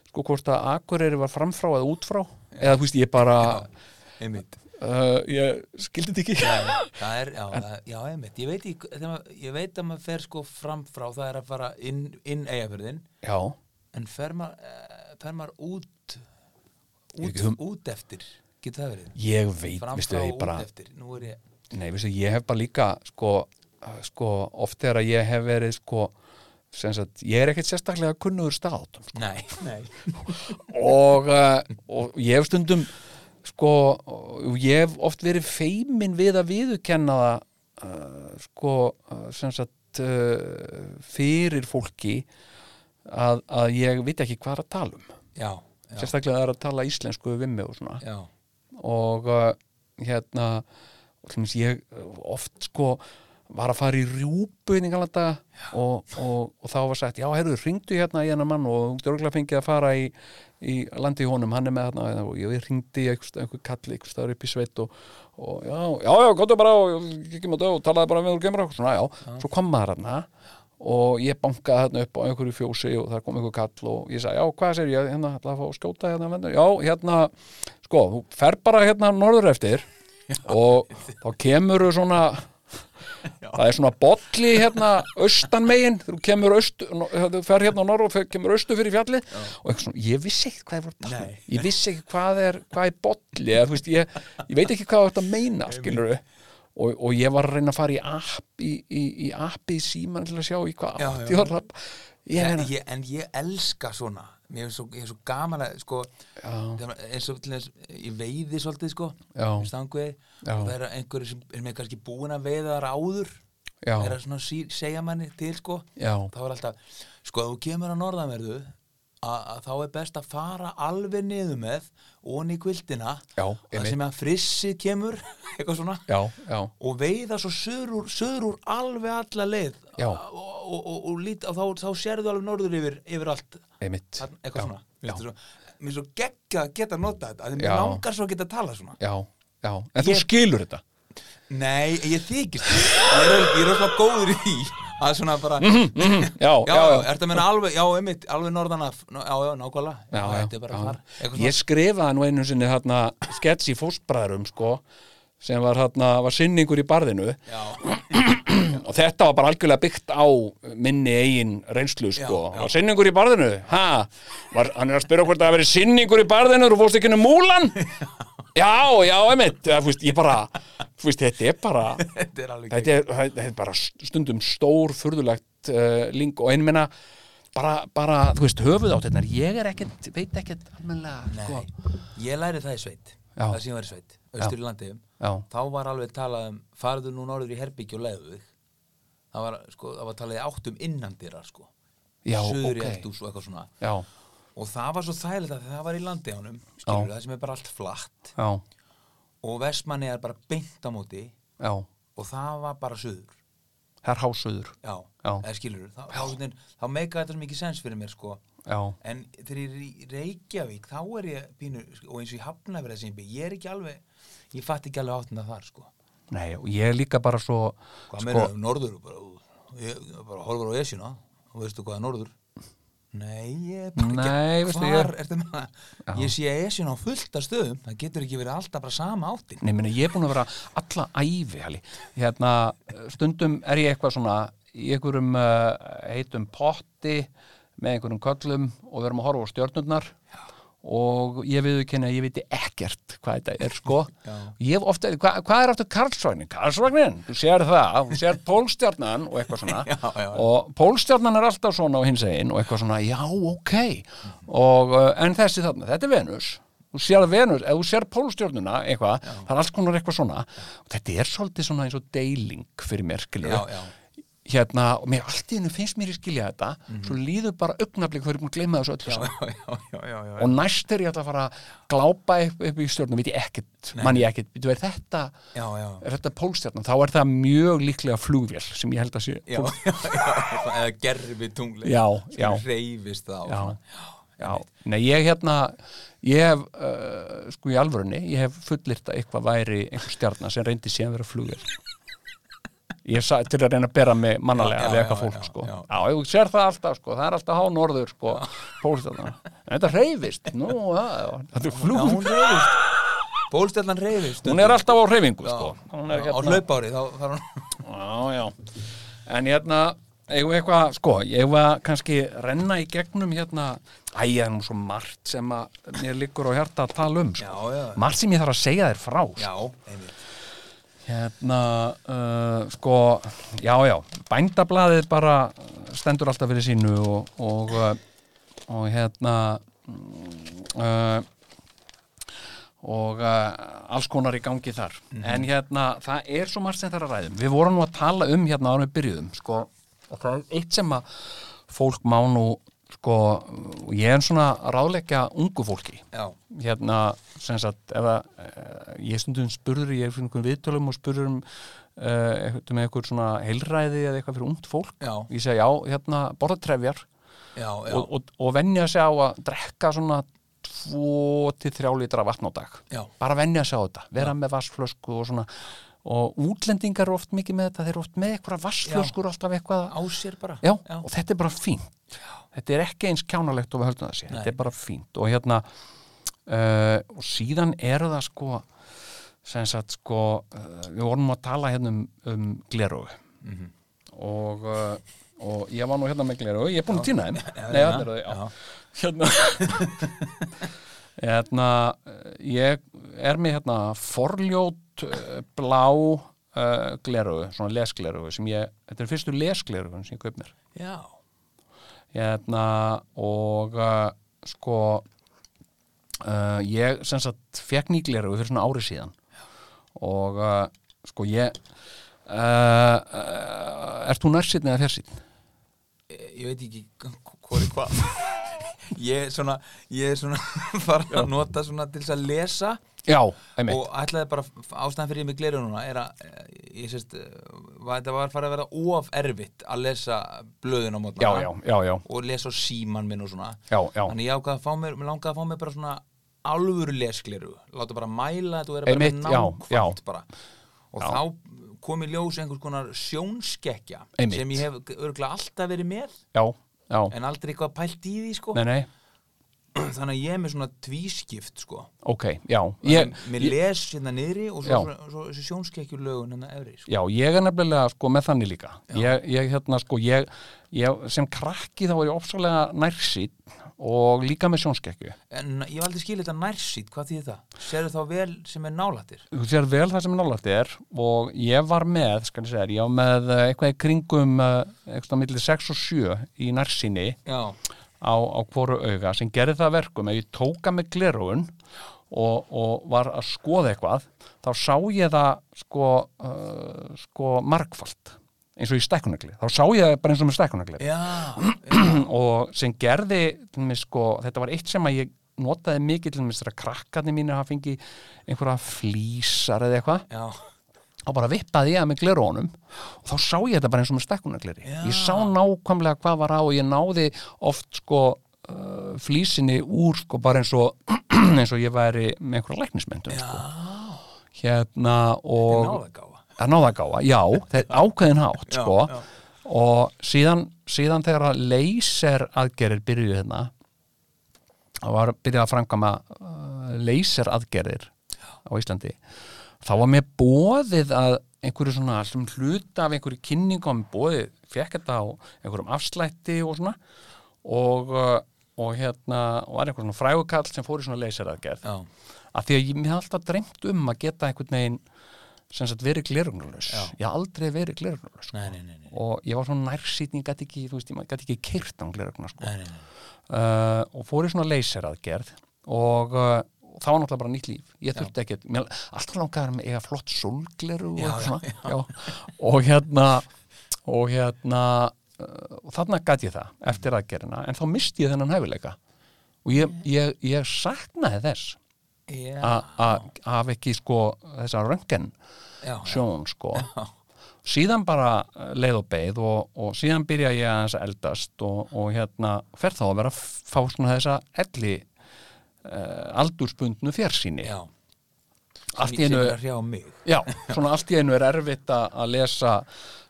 S4: sko hvort að akureyri var framfrá eða útfrá eða þú veist ég bara
S5: einmitt.
S4: uh, ég skildi þetta ekki
S5: Það er, já, það, já, einmitt. Ég veit, ekki- þegar maður- ég veit að maður fer sko fram frá, það er að fara inn, inn eigafyrðin,
S4: Já,
S5: en fer maður, eh, fer maður út, út,
S4: Ekki hum-
S5: út eftir, getur það verið?
S4: ég veit,
S5: Fram
S4: veistu,
S5: frá
S4: ég
S5: og
S4: bara
S5: út eftir, nú er ég,
S4: Nei, veistu, ég hef bara líka sko, sko oft þegar að ég hef verið sko, sem sagt, ég er ekkert sérstaklega kunnugur staðátum sko.
S5: nei, nei.
S4: og, uh, og ég hef stundum sko, og ég hef oft verið feimin við að viðukenna það uh, sko, uh, sem sagt eh, uh, fyrir fólki að, að ég veit ekki hvað er að tala um
S5: Já,
S4: sérstaklega það er að tala íslensku við mig og svona
S5: já,
S4: og uh, hérna og til dæmis ég uh, oft sko var að fara í rjúpu hérna í gamla daga og, og, og þá var sagt já, heyrðu, ringdu hérna í hennar mann og þú dörgla fengið að fara í, í landi í honum, hann er með þarna og ég ringdi einhver, einhver kalli, einhver staður upp í sveit og, og já, já, já, komdu bara og kikkum á dög og talaði bara með þú gemur okkur svona, já, svo kom maður hérna og ég bankaði þarna upp á einhverju fjósi og þar kom einhver kall og ég sagði, já, hvað sér ég, hérna, ætla að fá að skjóta hérna, hérna, já, hérna, sko, þú fer bara hérna norður eftir og þá kemur svona, það er svona bolli hérna austan megin, þú kemur austu, no- þú fer hérna norður og fer- kemur austu fyrir fjallið og eitthvað svona, ég vissi ekki hvað ég voru að tala, um. ég vissi ekki hvað er, hvað er bolli, eða, þú veist, ég, ég veit ekki hvað þetta meina, skilur Og, og ég var að reyna að fara í app í, í, í appi í síman til að sjá í hvað
S5: Já,
S4: átt
S5: já.
S4: ég var að ég
S5: en
S4: meina,
S5: ég, en ég elska svona mér er svo, ég er svo gaman að sko, þegar maður- eins og til þess ég veiði svolítið sko
S4: Já.
S5: stangveið,
S4: Já.
S5: og það eru einhverju sem, sem er kannski búin að veiða þar áður
S4: Já.
S5: er að svona sí, segja manni til sko
S4: Já.
S5: þá er alltaf, sko ef þú kemur að norðanverðu að, að þá er best að fara alveg niður með onni í kvildina
S4: Já,
S5: það
S4: einmitt.
S5: sem að frissið kemur (laughs) eitthvað svona
S4: já, já,
S5: og veiða svo söður úr, söður úr alveg alla leið
S4: Já.
S5: og, og, og, og, lít, og þá, þá sérðu alveg norður yfir, yfir allt
S4: einmitt
S5: Þarna- eitthvað
S4: Já,
S5: svona
S4: já.
S5: Mér finnst svo, mér er svo geggja að geta að nota þetta af því
S4: Já.
S5: mér langar svo að geta að tala svona
S4: Já, já, en þú
S5: Ég-
S4: skilur þetta (clears throat)
S5: nei, ég (laughs) þykist því. ég er, ég er alltaf góður í því að svona bara
S4: (laughs) Já,
S5: Já, já, ertu að menna alveg, já, einmitt, alveg norðan af, ná- já, já, nákvæmlega,
S4: já, já,
S5: þetta er bara
S4: já.
S5: þar, eitthvað
S4: Ég
S5: svona,
S4: skrifaði nú einu sinni þarna skets í fóstbræðrum sko sem var þarna, var sinningur í barðinu
S5: já,
S4: og þetta var bara algjörlega byggt á minni eigin reynslu sko
S5: já.
S4: var sinningur í barðinu, ha var, hann er að spyrja hvort það hafi verið sinningur í barðinu þú fórst ekki inn um múlan
S5: (laughs)
S4: já, já, einmitt, það, fúst, ég bara fúst, þetta er bara
S5: þetta er alveg
S4: þetta er, þetta er bara stundum stór furðulegt uh, ling og einmenna bara, bara, þú veist, höfuð átt hérna ég er ekkert, veit ekkert almenlega, sko.
S5: Nei, ég læri það í sveit
S4: Já.
S5: það sem ég var í sveit, austur í landi
S4: Já.
S5: þá var alveg talað um farðu nú norður í herbyggju og leiðu þig það var, sko, það var talað í áttum innan dýra sko,
S4: Já, ok.
S5: söður í eldús og eitthvað svona
S4: já,
S5: og það var svo þægilegt að það var í landi ánum skilur
S4: Já.
S5: það sem er bara allt flatt
S4: já,
S5: og vestmanni er bara beint á móti
S4: já
S5: og það var bara söður
S4: það er hásöður,
S5: já,
S4: Já.
S5: eða skilur þá, þá, þá, þá meika þetta svo mikið sens fyrir mér sko
S4: já
S5: En þegar ég er í Reykjavík, þá er ég pínu, sko, og eins og ég hafna verið sem ég bygg, ég er ekki alveg, ég fatt ekki alveg áttuna þar, sko.
S4: nei, og ég er líka bara svo
S5: Hvað sko,
S4: sko,
S5: meira, norður, bara, ú, ég bara horfur á esjuna, og veistu hvað er norður? Nei, ég er bara
S4: Nei,
S5: ekki,
S4: veistu,
S5: hvar,
S4: ég-
S5: ertu með það? Ég sé esjuna á fullta stöðum, það getur ekki verið alltaf bara sama áttin.
S4: Nei, meni, ég er búin að vera alla ævi hali. hérna, stundum er ég eitthvað svona í einhverjum uh, heitum potti með einhverjum köllum og við erum að horfa á stjörnurnar og ég viðu kynna að ég viti ekkert hvað þetta er sko ég hef ofta, hva, hvað er aftur Karlsvagnin? Karlsvagnin, þú sér það þú sér pólstjarnan og eitthvað svona
S5: (laughs) Já, já, já.
S4: og pólstjarnan er alltaf svona á hins einn og eitthvað svona, já, ok og, uh, en þessi þarna, þetta er Venus þú sér Venus, ef þú sér pólstjörnuna eitthvað, það er alls konar eitthvað svona og þetta er svolítið svona eins og deiling fyrir mér, skilur
S5: Já, já.
S4: hérna, og mér allt í hennu finnst mér í skilja þetta svo líður bara augnablik þegar ég er búin að gleyma þessu öllu saman
S5: Mhm. Já, já, já, já, já.
S4: og næst er ég alltaf að fara að glápa upp, upp í stjörnum, veit ég ekkert, mann ég ekkert veitu, er þetta,
S5: Já, já.
S4: er þetta pólstjarnan þá er það mjög líklega flugvél sem ég held að sé
S5: Já, já, já, eða gerfi tungleik
S4: Já,
S5: sem
S4: já.
S5: reyfist það á
S4: já,
S5: svona.
S4: já. Nei, ég hérna ég hef, uh, sko í alvörunni ég hef fullirt að eitthvað væri einhver stjarnan sem reyndi síðan að vera flugvél ég sa, til að reyna að bera mig mannalega
S5: Já,
S4: við
S5: já,
S4: eitthvað
S5: já,
S4: fólk
S5: já,
S4: sko
S5: já.
S4: já, ég sér það alltaf sko, það er alltaf há norður sko, pólstjarnan, en þetta reyfist nú, já, þetta er
S5: Já,
S4: flugvél
S5: hún reyfist Bólstjallan reyfist
S4: hún er alltaf á reyfingu
S5: Já,
S4: sko. hún er
S5: á
S4: hérna
S5: hlaupári þá þarf hún
S4: já, já. en hérna eigum við eitthvað, sko, ég var kannski renna í gegnum hérna æ, það er nú svo margt sem að mér liggur á hjarta að tala um, sko
S5: Já, já.
S4: margt sem ég þarf að segja þér frá sko.
S5: Já, einmitt
S4: hérna, uh, sko já, já, bændablaðið bara stendur alltaf fyrir sínu og, og, uh, og hérna uh, og uh, alls konar í gangi þar en hérna, það er svo margt sem þar að um ræðum við vorum nú að tala um hérna árum við byrjuðum sko, og það er eitt sem að fólk má nú sko, ég er svona að ráðleggja ungu fólki
S5: Já,
S4: hérna, sem sagt, ef að eh, ég stundum spurður, ég er fyrir einhvern viðtölum og spurður um uh, með eitthvað svona heilræði eða eitthvað fyrir ungt fólk
S5: Já.
S4: ég segi já, hérna, borða trefjar
S5: já, já,
S4: og, og, og venja sig á að drekka svona 2-3 litra vatn á dag
S5: Já.
S4: bara venja sig á þetta, vera með vassflösku og svona og útlendingar eru oft mikið með þetta, þeir eru oft með eitthvað vassflöskur alltaf eitthvað
S5: á sér bara
S4: já, og þetta er bara fínt þetta er ekki eins kjánalegt og við höldum það sé þetta er bara fínt og hérna uh, og síðan eru það sko sem sagt sko uh, við vorum að tala hérna um, um glerugu
S5: Mhm.
S4: og uh, og ég var nú hérna með glerugu ég er búin að týna þeim Nei,
S5: já,
S4: þarna eru þau, já. hérna (laughs) hérna eh, ég er með hérna forljót eh, blá uh, glerugu, svona lesglerugu sem ég, þetta er fyrstu lesglerugun sem ég kaup mér
S5: já,
S4: hérna og uh, sko uh, ég sem sagt fekk nýgleru fyrir svona ári síðan og uh, sko ég uh, uh, ert þú nærsýtn eða fjarsýtn?
S5: Eh, ég veit ekki hvað er hvað (laughs) ég er svona, ég er svona (laughs) farin að nota svona til þess að lesa
S4: Já, einmitt
S5: og ætlaði bara, ástæðan fyrir ég með gleru núna er að, eh, ég sést eh, var, þetta var farið að vera of erfitt að lesa blöðin á mótna
S4: já, já, já, já,
S5: og lesa á síman minn og svona
S4: já, já
S5: þannig ég ákvað að fá mér, mér langaði að fá mér bara svona alvöru lesgleru láta bara mæla þetta og vera bara
S4: Einmitt,
S5: með
S4: já,
S5: nákvæmt
S4: já.
S5: bara og þá kom í ljós einhvers konar sjónskekkja
S4: Einmitt.
S5: sem ég hef örgulega alltaf verið með
S4: já, já,
S5: en aldrei eitthvað pælt í því sko
S4: nei, nei
S5: þannig að ég er með svona tvískipt sko
S4: ok, já ég,
S5: mér les hérna niðri og
S4: Já.
S5: svo, svo, svo, svo sjónskekkjur lögun hérna efri sko.
S4: Já, ég er nefnilega sko með þannig líka ég, ég hérna sko, ég, ég sem krakki þá er ég ofsalega nærsýtt og líka með sjónskekkju
S5: en ég hef aldrei skilið þetta nærsýtt, hvað þýðir það? Serðu þá vel sem er nálættir?
S4: þú sér vel það sem nálægt er og ég var með, skal ég segja, þér, ég var með eh, eitthvað í kringum eh, eitthvað á milli 6 og 7 í nærsýni
S5: Já,
S4: á, á hvoru auga sem gerði það að verkum ef ég tóka með glerun og, og var að skoða eitthvað þá sá ég það sko, uh, sko margfalt eins og í stækkunagli, þá sá ég það bara eins og með stækkunagli
S5: já,
S4: (clears throat) og sem gerði til dæmis, sko, þetta var eitt sem að ég notaði mikið til dæmis þegar krakkarnir mínir hafa fengið einhverja flýsar eða eitthvað
S5: já,
S4: þá bara vippaði ég að með glerónum og þá sá ég þetta bara eins og með stekkunargleri ég sá nákvæmlega hvað var á og ég náði oft sko uh, flísinni úr sko bara eins og (clears throat) eins og ég væri með einhverja læknismyndum sko. hérna og
S5: nálægáfa
S4: að náðagáfa, já, þeir ákveðin hátt
S5: Já,
S4: sko, og síðan, síðan þegar að laser aðgerir byrjuðu hérna það var byrjuð að framkama uh, laser aðgerir á Íslandi þá var mér bóðið að einhverju svona sem hluta af einhverju kynningu á mér bóðið, fekk þetta á einhverjum afslætti og svona og, uh, og hérna og var einhver svona frægukall sem fór í svona laser aðgerð
S5: Já,
S4: að því að ég mér hef alltaf dreymt um að geta einhvern veginn sem sagt verið glerunglöðs ég hef aldrei verið glerunglöðs sko.
S5: nei, nei, nei, nei.
S4: og ég var svona nærsýtni, ég gæti ekki, þú veist, ég gæti ekki kyrt án glerugna sko.
S5: Nei, nei, nei.
S4: uh, og fór í svona leyseraðgerð og uh, og það var náttúrulega bara nýtt líf ég þurfti ekki, mér alltaf langaði með eiga flott sólgleru og, já, svona, já, og hérna og hérna uh, og þarna gæti ég það eftir aðgerðina en þá misti ég þennan hæfileika og ég, ég, ég saknaði þess
S5: Já,
S4: a- a- að hafa ekki sko þessa röngen
S5: já,
S4: sjón sko síðan bara eh, leið og beið og, og síðan byrja ég aðeins að eldast og, og hérna fer þá að vera að fá svona þessa elli uh, aldurspundnu fjarsýni
S5: já.
S4: allt í
S5: Sem- sem
S4: einu
S5: er að hrjá mig
S4: Já, (laughs) svona allt í einu er erfitt að að lesa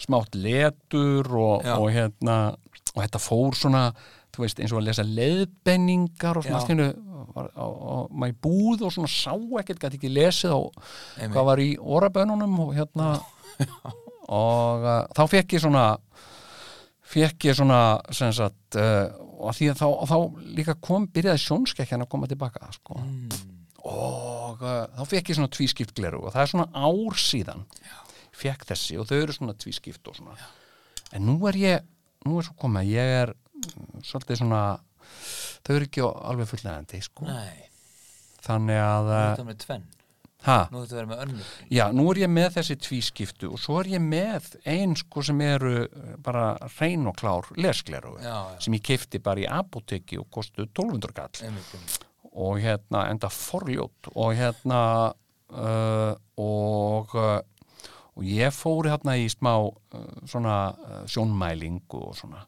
S4: smátt letur og,
S5: Já.
S4: og hérna og þetta fór svona, þú veist, eins og að lesa leiðbenningar og svona
S5: Já.
S4: allt í einu var á, á, maður í búð og svona sá ekkert, gæti ekki lesið á
S5: Einmitt.
S4: hvað var í orabönunum og hérna
S5: (laughs)
S4: og uh, þá fekk ég svona fekk ég svona sem sagt, uh, og því að þá, þá líka kom, byrjaði sjónskekkjan að koma tilbaka sko.
S5: Mm.
S4: og uh, þá fekk ég svona tvískipt gleru og það er svona ár síðan Já. fekk þessi og þau eru svona tvískipt og svona en nú er ég, nú er svo komið að ég er mm, svolítið svona þau eru ekki alveg fullnæðandi sko.
S5: Nei,
S4: þannig að uh,
S5: þetta með tvenn
S4: ha,
S5: Nú þetta verður með önnur.
S4: já, nú er ég með þessi tvískiptu og svo er ég með eins sko sem eru eh, bara reyn og klár leskleru
S5: Já, já.
S4: sem ég kefti bara í apoteki og kostu 1200 kall
S5: Einmitt, einmitt.
S4: og hérna enda forljót og hérna uh, og uh, og ég fóri hérna í smá uh, svona uh, sjónmælingu og svona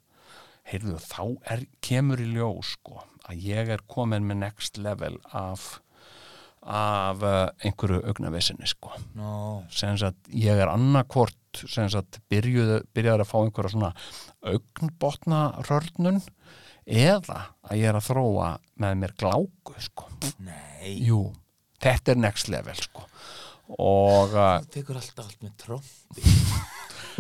S4: heyrðu þá er, kemur í ljós sko að ég er komin með next level af af uh, einhverju augnavesinni sko
S5: Nó,
S4: sem sagt ég er annarkvort sem sagt byrjuð, byrjaður að fá einhverja svona augnbotna rörnun eða að ég er að þróa með mér gláku sko.
S5: nei.
S4: Jú, þetta er next level sko. og uh,
S5: Þú tekur alltaf allt með tromp.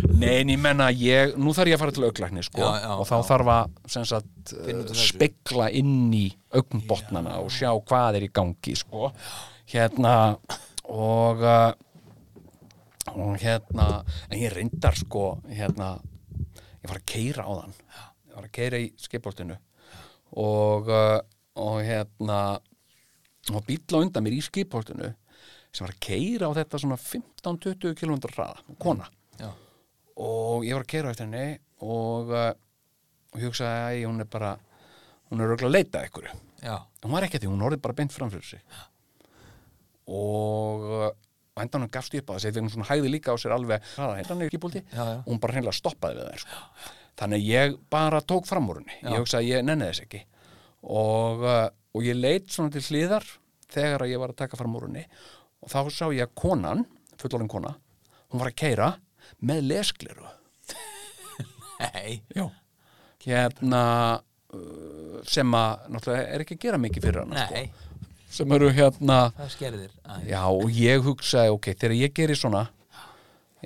S4: nein, ég menna ég, nú þarf ég að fara til auglækni sko,
S5: Já, já,
S4: og þá
S5: já.
S4: þarf að sem sagt
S5: Finna út
S4: uh,
S5: úr þessu.
S4: spegla inn í augnbotnana og sjá hvað er í gangi sko. hérna og uh, og hérna en ég reyndar sko hérna, ég var að keira á þann ég var að keira í skipoltinu og, uh, og hérna og bíll á undan mér í skipoltinu sem var að keira á þetta svona 15-20 km hraða, kona
S5: Já.
S4: og ég var að keira á eftir henni og, uh, og hugsaði að hún er bara hún er örugglega að leita að ykkur
S5: Já,
S4: hún var ekki að því, hún orðið bara beint fram fyrir sig og uh, á endanum gafst upp á þessi þegar hún svona hægði líka á sér alveg hérna hraða hendanum í búldi
S5: Já, já.
S4: og hún bara hreinlega stoppaði við þær sko. þannig að ég bara tók fram úr henni ég hugsa að ég nenni þess ekki og, uh, og ég leit svona til hliðar þegar að ég var að taka fram úr henni og þá sá ég að konan fullorinn kona, hún var að keira með leskleru
S5: nei.
S4: Já. hérna uh, sem að náttúrulega er ekki að gera mikið fyrir hana
S5: Nei,
S4: sko, sem eru hérna
S5: það skerðir. Æ,
S4: já og ég hugsaði ok, þegar ég geri svona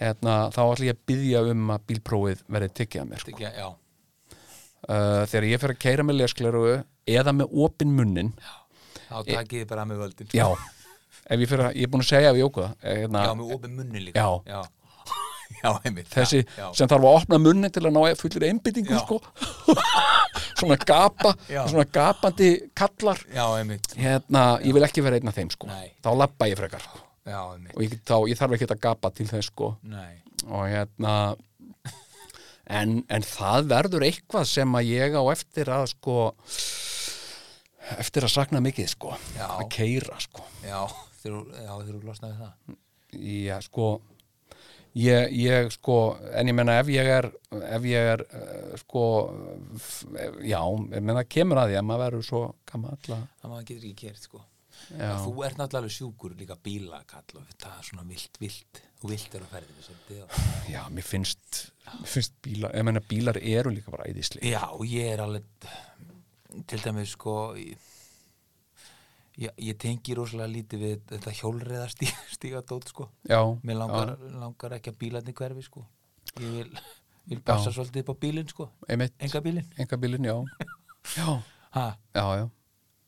S4: hérna, þá ætla ég að byggja um að bílprófið verði tekið að mér sko.
S5: Ekki, já,
S4: uh, þegar ég fer að keira með leskleru eða með opin munnin
S5: þá takið þið bara með völdin.
S4: já, ef ég fer að, ég er búin að segja ef ég ókuða hérna,
S5: Já, með opið munni líka.
S4: Já.
S5: Já, (laughs) já einmitt.
S4: þessi
S5: já, já.
S4: sem þarf að opna munnin til að ná fullir einbyttingu
S5: Já.
S4: sko. (laughs) svona gapa
S5: Já.
S4: svona gapandi kallar
S5: Já, einmitt.
S4: hérna, ég vil ekki vera einn af þeim sko
S5: Nei.
S4: þá lappa ég frekar sko. og
S5: Já, einmitt.
S4: ég, get- þá, ég þarf ekki að gapa til þess sko
S5: Nei.
S4: og hérna en, en það verður eitthvað sem að ég á eftir að sko eftir að sakna mikið sko
S5: Já.
S4: að keira sko
S5: Já, þegar já, þegar þú losnaði við það.
S4: ég sko ég, ég sko en ég menna ef ég er ef ég er uh, sko f- já, ég menna kemur að því að maður verður svo gamall að
S5: Það maður getur ekki kert, sko.
S4: Já.
S5: Þú ert náttúrulega alveg sjúkur líka bílakall og það er svona vilt, vilt. Þú vilt er að ferðinu svolítið og...
S4: Já, mér finnst, mér finnst bílar, ég meina bílar eru líka bara æðisli.
S5: Já, ég er alveg til dæmis sko ég, ég, ég tengi rosalega lítið við þetta hjólreiða stíga dót sko
S4: Já,
S5: mér langar, langar ekki að bílarni hverfi sko ég vil, ég vil passa
S4: Já.
S5: svolítið upp á bílinn sko
S4: já, einmitt,
S5: enga bílinn
S4: enga bílinn,
S5: (laughs)
S4: já. já,
S5: ha,
S4: já, já.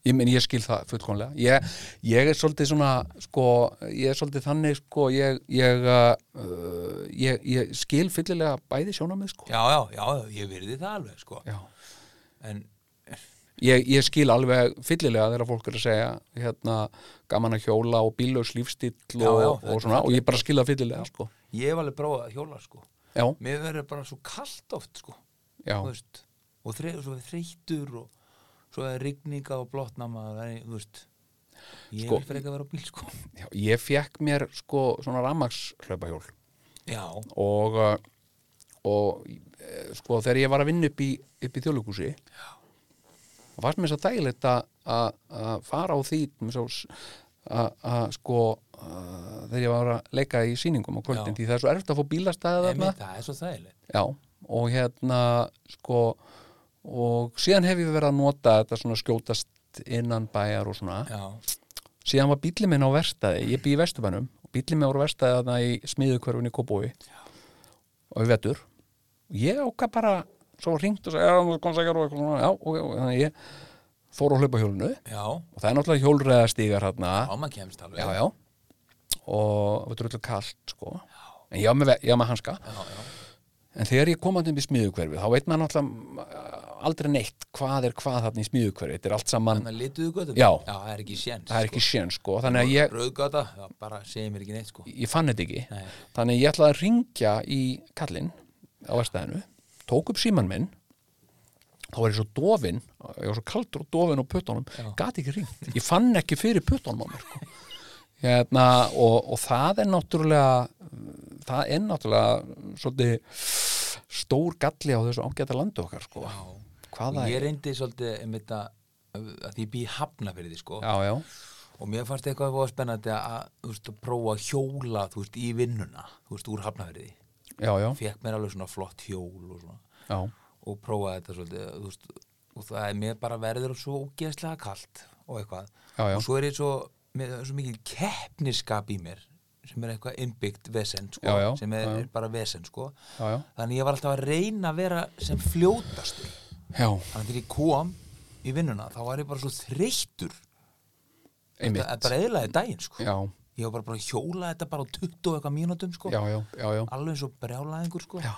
S4: Ég meni, ég skil það fullkomlega. Ég, ég er svolítið svona, sko, ég er svolítið þannig, sko, ég, ég, uh, ég, ég skil fyllilega bæði sjónamið, sko.
S5: já, já, já, ég virði það alveg sko
S4: Já.
S5: en
S4: Ég, ég skil alveg fyllilega þegar fólk er að segja, hérna, gaman að hjóla og bílaus lífstíll og,
S5: Já, já, þetta er
S4: og svona, og ég bara skil það fyllilega, sko.
S5: ég hef alveg prófað að hjóla sko
S4: Já,
S5: mér verður bara svo kalt oft sko
S4: já,
S5: Þú veist, og, þre, og svo er þreytur og svo er rigninga og blotnama þú veist ég
S4: Sko-
S5: vil fyrir ekki að vera á bíl sko
S4: já. Ég fekk mér, sko, svona ramaks hlaupahjól.
S5: já,
S4: og uh, og eh, sko þegar ég var að vinna upp í, upp í þjóðleikúsi þá fannst mér svo dægilegt að að- að fara á því með svo s- að að, sko uh, þegar ég var að leika í sýningum á kvöldin
S5: Já.
S4: því það er svo erft að fá bílastæði þarna
S5: emi, það er svo þægilegt
S4: já, og hérna sko og síðan hef ég verið að nota þetta svona skjótast innan bæjar og svona
S5: já,
S4: síðan var bílið minn á verstaði ég bý í vesturbænum og bílið minn á verstaði þarna í smiðukverfinu í Kópói og við vettur og ég áka bara svo ringt og sagði já, þú komst ekki að róa já, ok, ok, þannig að ég fór á hlaupa hjólinu
S5: já,
S4: og það er náttúrulega hjólreða stígar hérna
S5: já, maður kemst alveg
S4: já, já og það var drullu kalt sko en ég var með, ve- ég var með hanska
S5: já, já.
S4: en þegar ég kom að upp í smiðukverfið þá veit maður náttúrulega aldrei neitt hvað er hvað þarna í smíðukverfi þetta er allt saman,
S5: Þannig að lituðu götum?
S4: Já.
S5: það er ekki séns.
S4: það er ekki sjön sko þannig að ég,
S5: Rauðgata, já, bara segir mér ekki neitt, sko.
S4: ég fann þetta ekki
S5: Nei.
S4: þannig að ég ætlaði að ringja í kallinn á verstaðinu tók upp síman minn þá var ég svo dofin, ég var svo kaldur og dofin á puttunum, gati ekki ringt ég fann ekki fyrir puttunum á mér sko. hérna, og, og það er náttúrulega það er náttúrulega svolítið stór galli á þessu ágæta landi okkar sko. hvaða
S5: Ég
S4: er
S5: reyndi svolítið einmitt að, að því ég bý hafna fyrir því, sko.
S4: já, já,
S5: Og mér fannst eitthvað fóða spennandi að, þú veist, að prófa að hjóla, þú veist, í vinnuna, þú veist, úr hafna fyrir því.
S4: já, já,
S5: Fekk mér alveg svona flott hjól og svona.
S4: já.
S5: Og prófaði þetta svolítið, þú veist, og það er mér bara verður svo ógeðslega kalt og eitthvað.
S4: Já, já.
S5: Og svo er ég svo, með, svo mikil keppniskap í mér sem er eitthvað innbyggt vesen, sko,
S4: Já, já,
S5: sem er,
S4: já, já.
S5: er bara vesen, sko.
S4: Já, já.
S5: Þannig ég var alltaf að reyna að vera sem fljótastur.
S4: já
S5: Þannig að þegar ég kom í vinnuna, þá var ég bara svo þreyttur.
S4: einmitt
S5: Það er bara eðlaði daginn, sko.
S4: já,
S5: Ég var bara bara að hjóla þetta bara á 20 og eitthvað mínútum, sko.
S4: já, já, já, já.
S5: Alveg svo brjálaðingur, sko.
S4: Já,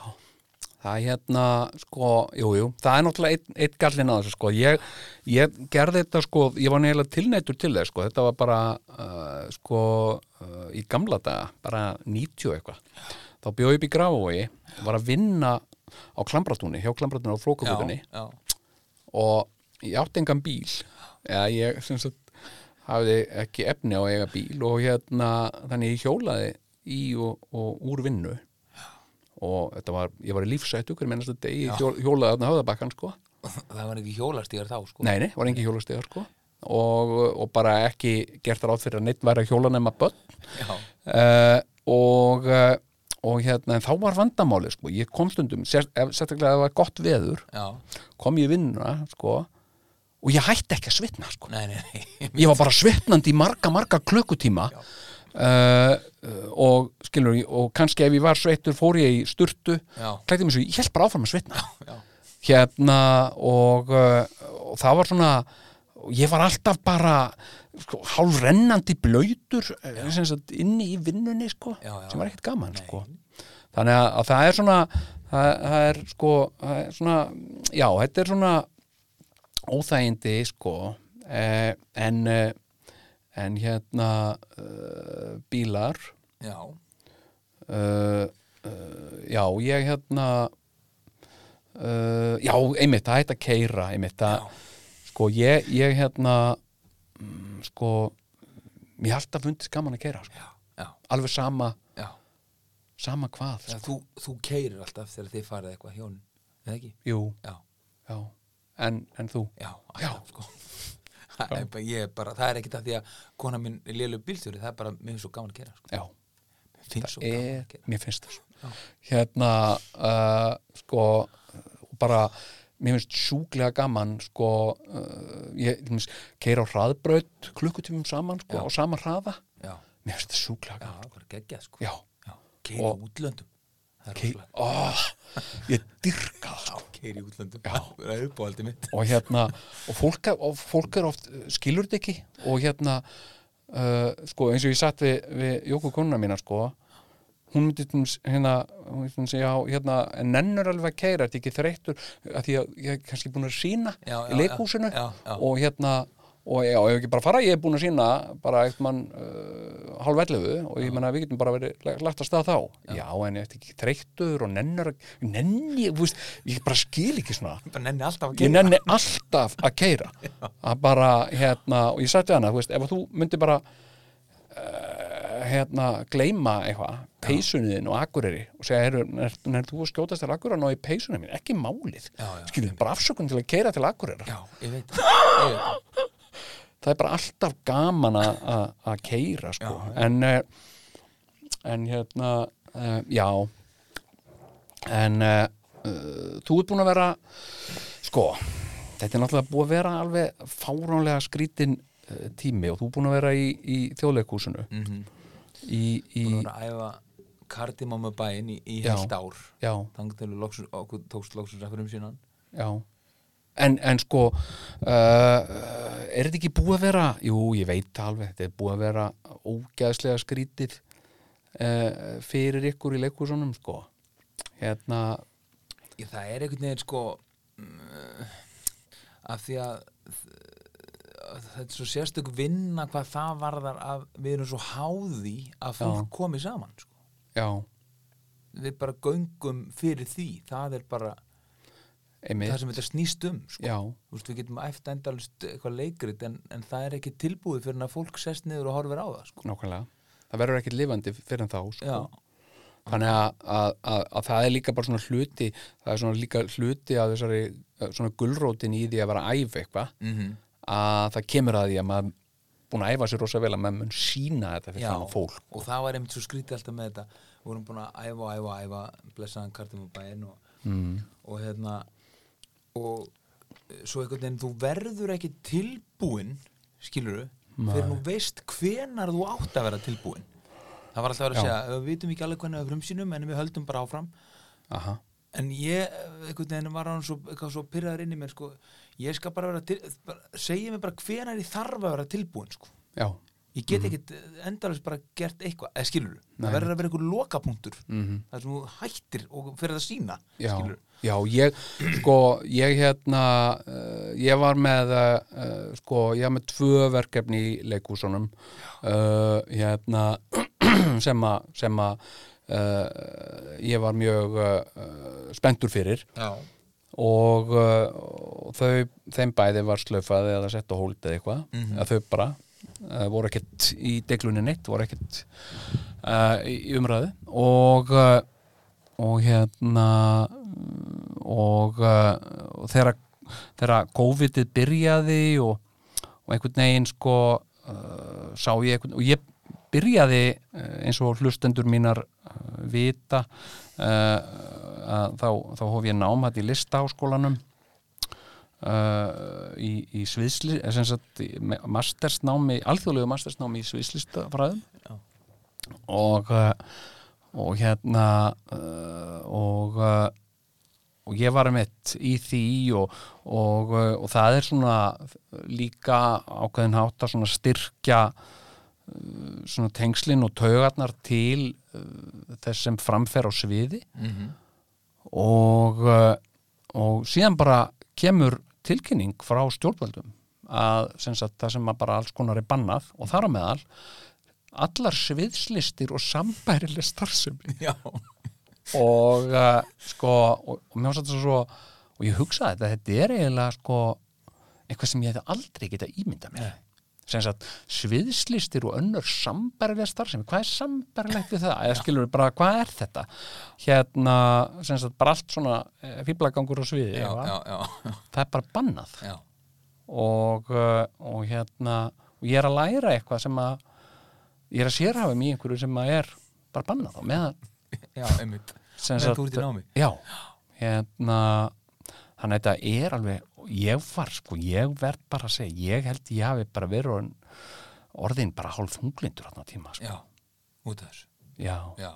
S4: það er hérna, sko, jú, jú, það er náttúrulega einn eitt gallin að þessu, sko, ég, ég gerði þetta, sko, ég var neila tilnættur til þess, sko, þetta var bara, uh, sko, uh, í gamla daga, bara 90 eitthvað, þá bjóði upp í Grafavogi, var að vinna á Klambratúni, hjá Klambratúni á Flókavögunni
S5: já. (laughs)
S4: og ég átti engan bíl eða ég sem sagt hafði ekki efni á að eiga bíl og hérna þannig ég hjólaði í og, og úr vinnu og þetta var, ég var í lífsættu hverjum ennast að degi, ég hjó- hjólaði þarna höfðabakkan sko,
S5: Það var ekki hjólastígar þá, sko.
S4: nei, nei, var engin hjólastegar sko og, og bara ekki gert ráð fyrir að neitt væri að hjóla nema börn
S5: Já.
S4: uh, og uh, og hérna, en þá var vandamáli sko, ég kom stundum, sér- ef- sérstaklega að það var gott veður,
S5: Já.
S4: kom ég í vinnuna sko, og ég hætti ekki að svitna sko.
S5: Nei, nei, nei. (laughs)
S4: ég var bara svitnandi í marga, marga klukkutíma uh, uh, og skilur og kannski ef ég var sveittur fór ég í sturtu
S5: Já.
S4: klætti mig svo, ég held bara áfram að svitna
S5: Já.
S4: hérna og, uh, og það var svona og ég var alltaf bara sko, hálfrennandi blöytur eh, sem sagt, inni í vinnunni sko,
S5: Já, já.
S4: sem var ekkert gaman sko. þannig að, að það er svona það, það er sko það er svona, já, þetta er svona óþægindi sko eh, en eh, en hérna eh, bílar
S5: Já.
S4: uh, uh, já, ég hérna uh, já, einmitt, það hætti að keira einmitt, það, sko, ég, ég hérna mm, sko mér hafði alltaf fundist gaman að keira sko.
S5: Já.
S4: alveg sama,
S5: Já.
S4: sama hvað
S5: Þegar
S4: sko.
S5: þú, þú keirir alltaf þegar þið farið eitthvað hjón, eða ekki?
S4: jú,
S5: Já.
S4: já, en, en þú
S5: Já, alltaf, sko. Það er bara- Ég er bara, það er ekkert að því að kona minn er lélu bílstjóri, það er bara, mér finnst svo gaman að kera, sko.
S4: já,
S5: Mér finnst svo gaman
S4: er,
S5: að kera.
S4: mér finnst það svo hérna, uh, sko og bara, mér finnst sjúklega gaman, sko uh, ég, til dæmis, keira á hraðbraut klukkutífum saman, sko, á sama hraða
S5: Já,
S4: mér finnst það sjúklega
S5: já,
S4: gaman
S5: það er geggjað, sko.
S4: já,
S5: Já, keiri
S4: Og-
S5: og... útlöndum. Það er
S4: Kei,
S5: rosalega.
S4: ó, Ah, ég dyrka það, sko
S5: Keiri í útlöndum. Já. (laughs) Það er uppáhaldið mitt.
S4: og hérna og fólk, og fólk er oft uh, skilur þetta ekki og hérna uh, sko eins og ég satt við, við Jóku konuna mína sko hún myndi til dæmis, hérna hún myndi til dæmis, já, hérna, en nennur alveg að keira þetta ekki þreyttur að því að ég er kannski búin að sína
S5: Já, já,
S4: í leikhúsinu
S5: já, já, já.
S4: og hérna og já, ef ekki bara fara, ég er búin að sína bara eitt mann uh, hálfellegu og ég menna við getum bara verið lagt að staða þá já, en ég er ekki þreyttur og nennur nenni, þú veist, ég bara skil ekki svona
S5: Ég bara nenni alltaf að
S4: ég
S5: keira.
S4: nenni alltaf að
S5: (laughs)
S4: keira að bara, hérna, og ég sagði hana þú veist, ef að þú myndir bara uh, hérna, gleyma eitthvað, peysunni þinn og akureyri og segja, heyrðu, er, er þú að skjótast til akureyra og í peysunni mín, ekki málið
S5: Já, já.
S4: skilur, bara afsökun til að keira til akureyra
S5: Já, ég veit það. Ég veit það.
S4: það er bara alltaf gaman að- að að keira, sko en, eh, en hérna uh, já en uh, uh, þú ert búin að vera sko, þetta er náttúrulega búið að vera alveg fáránlega skrítin uh, tími og þú ert búin að vera í, í þjóðleikúsinu í, í
S5: Búin að æfa kardimáma bæinn í, í
S4: Já.
S5: heilt ár.
S4: já,
S5: Þannig til loksus, okkur tókst loksins ekkur um sínan.
S4: já en, en sko uh, er þetta ekki búið að vera jú, ég veit það alveg, þetta er búið að vera ógæðslega skrítið uh, fyrir ykkur í leikúsunum sko hérna,
S5: Ég, það er einhvern veginn sko af því að að þetta er svo sérstök vinna hvað það varðar að við erum svo háði að fólk komi saman sko.
S4: já,
S5: við bara göngum fyrir því það er bara það
S4: einmitt
S5: sem þetta snýst um sko.
S4: já,
S5: Þú veist, við getum æft endalist eitthvað leikrit en, en það er ekki tilbúið fyrir en að fólk sest niður og horfir á það sko.
S4: nákvæmlega það verður ekkert lifandi fyrir en þá
S5: já,
S4: sko. þannig að, að, að, að það er líka bara svona hluti það er svona líka hluti að þessari eh, svona gulrótin í því að vera æf eitthvað
S5: Mhm.
S4: að það kemur að því að maður búin að æfa sér rosa vel að maður mun sína þetta fyrir
S5: já.
S4: þannig fólk sko.
S5: og það var einmitt svo skrítið alltaf með þetta við vorum búin að æfa, æfa, æfa blessaðan kartum og bæinn og, mm. og hérna og eh, svo einhvern veginn þú verður ekki tilbúin skilur þú fyrir nú veist hvenar þú átt að vera tilbúin það var alltaf að vera að
S4: Já.
S5: segja við vitum ekki alveg hvernig að frumsýnum en við höldum bara áfram
S4: Aha.
S5: en ég, eh, einhvern veginn var hann svo, eitthvað svo pyrraður inn í mér sko. ég skal bara vera til, bara, segja mér bara hvenær ég þarf að vera tilbúin sko.
S4: já, Mhm.
S5: ég get ekkit endalist bara gert eitthvað, eða skilur það verður að vera einhver lokapunktur -hmm. þar sem þú hættir og fyrir að sína
S4: Mhm. já,
S5: skilur
S4: já ég, sko, ég hérna uh, ég var með uh, uh, sko, ég var með tvö verkefni í leikúsunum uh, hérna (clears throat) sem að sem að uh, ég var mjög uh, uh, spenntur fyrir
S5: já,
S4: og, uh, og þau, þeim bæði var slöfað eða sett á hóld eða eitthvað að þau bara uh, voru ekkert í deglunni neitt, voru ekkert uh, í í umræðu og uh, og hérna mm, og, uh, og þegar þegar COVID-ið byrjaði og, og einhvern veginn sko uh, sá ég einhvern og ég byrjaði uh, eins og hlustendur mínar uh, vita uh, að þá, þá hóf ég nám hætt í listaháskólanum uh, í, í sviðsli eh, sem sagt, í me- mastersnámi alþjóðlegu mastersnámi í sviðslistafræðum og uh, og hérna uh, og uh, og ég var mitt í því og, og, uh, og það er svona líka ákveðin hátt að svona styrkja uh, svona tengslin og taugarnar til uh, þess sem framfer á sviði og, uh, og síðan bara kemur tilkynning frá stjórnvöldum að sem sagt, það sem að bara alls konar er bannað og þar á meðal allar sviðslistir og sambærileg starfsemi
S5: já,
S4: og uh, sko og, og mér fannst þetta svo og ég hugsaði þetta, þetta er eiginlega sko eitthvað sem ég hefði aldrei geta ímynda mér sem sagt, sviðslistir og önnur sambærilega starfsemi, hvað er sambærilegt við það, eða skilur við bara, hvað er þetta hérna, sem sagt, bara allt svona eh, fíblagangur á sviði
S5: já,
S4: eða?
S5: já, já,
S4: það er bara bannað
S5: já.
S4: og, uh, og hérna og ég er að læra eitthvað sem að ég er að sérhafa mig í einhverju sem að er bara bannað á meðan
S5: já einmitt
S4: sem eh,
S5: Meðan þú ert í námi?
S4: já, hérna þannig að þetta er alveg ég var sko, ég verð bara að segja ég held ég hafi bara verið orðin, orðin bara hálf hunglindur þarna tíma sko.
S5: já, út af þessu
S4: já,
S5: já.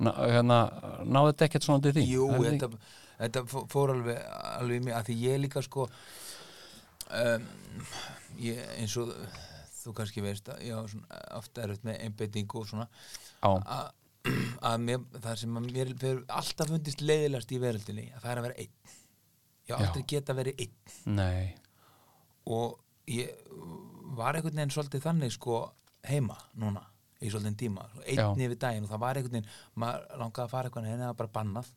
S4: Ná, hérna, náðu þetta ekkert svona til því
S5: Jú,
S4: Hafið þið-
S5: þetta, þetta fó- fór alveg, alveg í mig að því ég líka sko um, ég, eins og þú kannski veist að ég á svona ofta erfitt með einbeitingu og svona
S4: já,
S5: að, að mér, það sem að mér fyrir alltaf fundist leiðilegast í veröldinni að það er að vera einn ég
S4: Já.
S5: hef aldrei geta að vera einn
S4: nei,
S5: og ég var einhvern veginn svolítið þannig sko heima núna í svolítið tíma, einn
S4: Já.
S5: yfir daginn og það var einhvern veginn, maður langaði að fara eitthvað en það var bara bannað,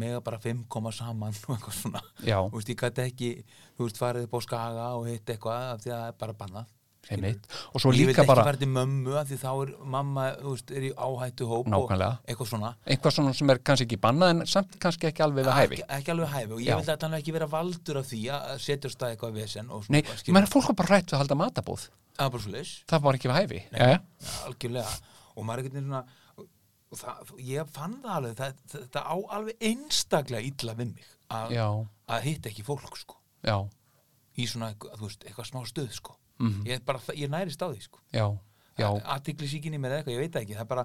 S5: mega bara fimm koma saman og eitthvað svona
S4: Já.
S5: þú veist, ég gæti ekki, þú veist, farið upp á skaga og hitt eitthvað af því að það er bara bannað
S4: heimitt og svo
S5: ég vil
S4: líka
S5: ekki
S4: bara
S5: fara til mömmu af því þá er mamma, þú veist, er í áhættu hóp
S4: Nákvæmlega.
S5: og eitthvað svona
S4: eitthvað svona sem er kannski ekki bannað en samt kannski ekki alveg við hæfi
S5: ekki, ekki alveg hæfi og ég
S4: Já.
S5: vil að þannig ekki vera valdur af því að setja á stað eitthvað vesen og
S4: nei,
S5: skilur.
S4: menn fólk var bara hrætt við að halda matabúð
S5: Það er bara svoleiðis.
S4: það var ekki við hæfi já, já.
S5: algjörlega og maður einhvern veginn svona og það, ég fann það alveg það, þetta á alveg einstaklega illa við mig að,
S4: Já.
S5: að hitta ekki fólk sko
S4: já,
S5: í svona, eitthvað- þú veist, eitthvað smá stöð sko
S4: Mhm.
S5: mm. ég, er bara, ég nærist á því sko
S4: já, já,
S5: aðtiklisíkinni mér eða eitthvað, ég veit það ekki það er bara,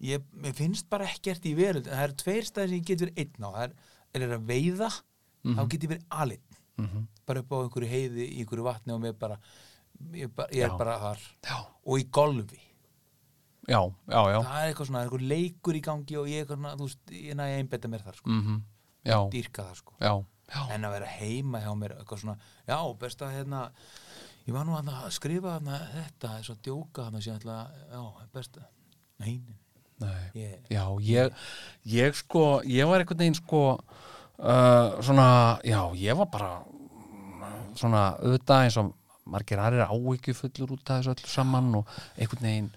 S5: ég, ég finnst bara ekkert í veröld en það eru tveir staðir sem ég get verið einn á það er, er, er að veiða
S4: Mhm.
S5: þá get ég verið alinn bara upp á einhverju heiði, í einhverju vatni og mér bara, ég, bara, ég er
S4: Já.
S5: bara þar
S4: Já.
S5: og í golfi
S4: já, já, já.
S5: það er eitthvað svona, það er eitthvað leikur í gangi og ég, er eitthvað, svona, þú veist, ég næ að einbetta mér þar sko.
S4: Mhm, já,
S5: dýrka það sko.
S4: já
S5: en að vera heima hjá mér eitthvað svona, já, best að hérna ég var nú þarna að skrifa þarna þetta, þess að djóka þarna sem ég ætla að- já, best að, nei, nei
S4: Nei.
S5: Ég-
S4: Já, ég, ég sko, ég var einhvern veginn sko uh, svona, já, ég var bara mm, svona auðvitað eins og margir aðrir áhyggju fullur út af þessu öllu saman og einhvern veginn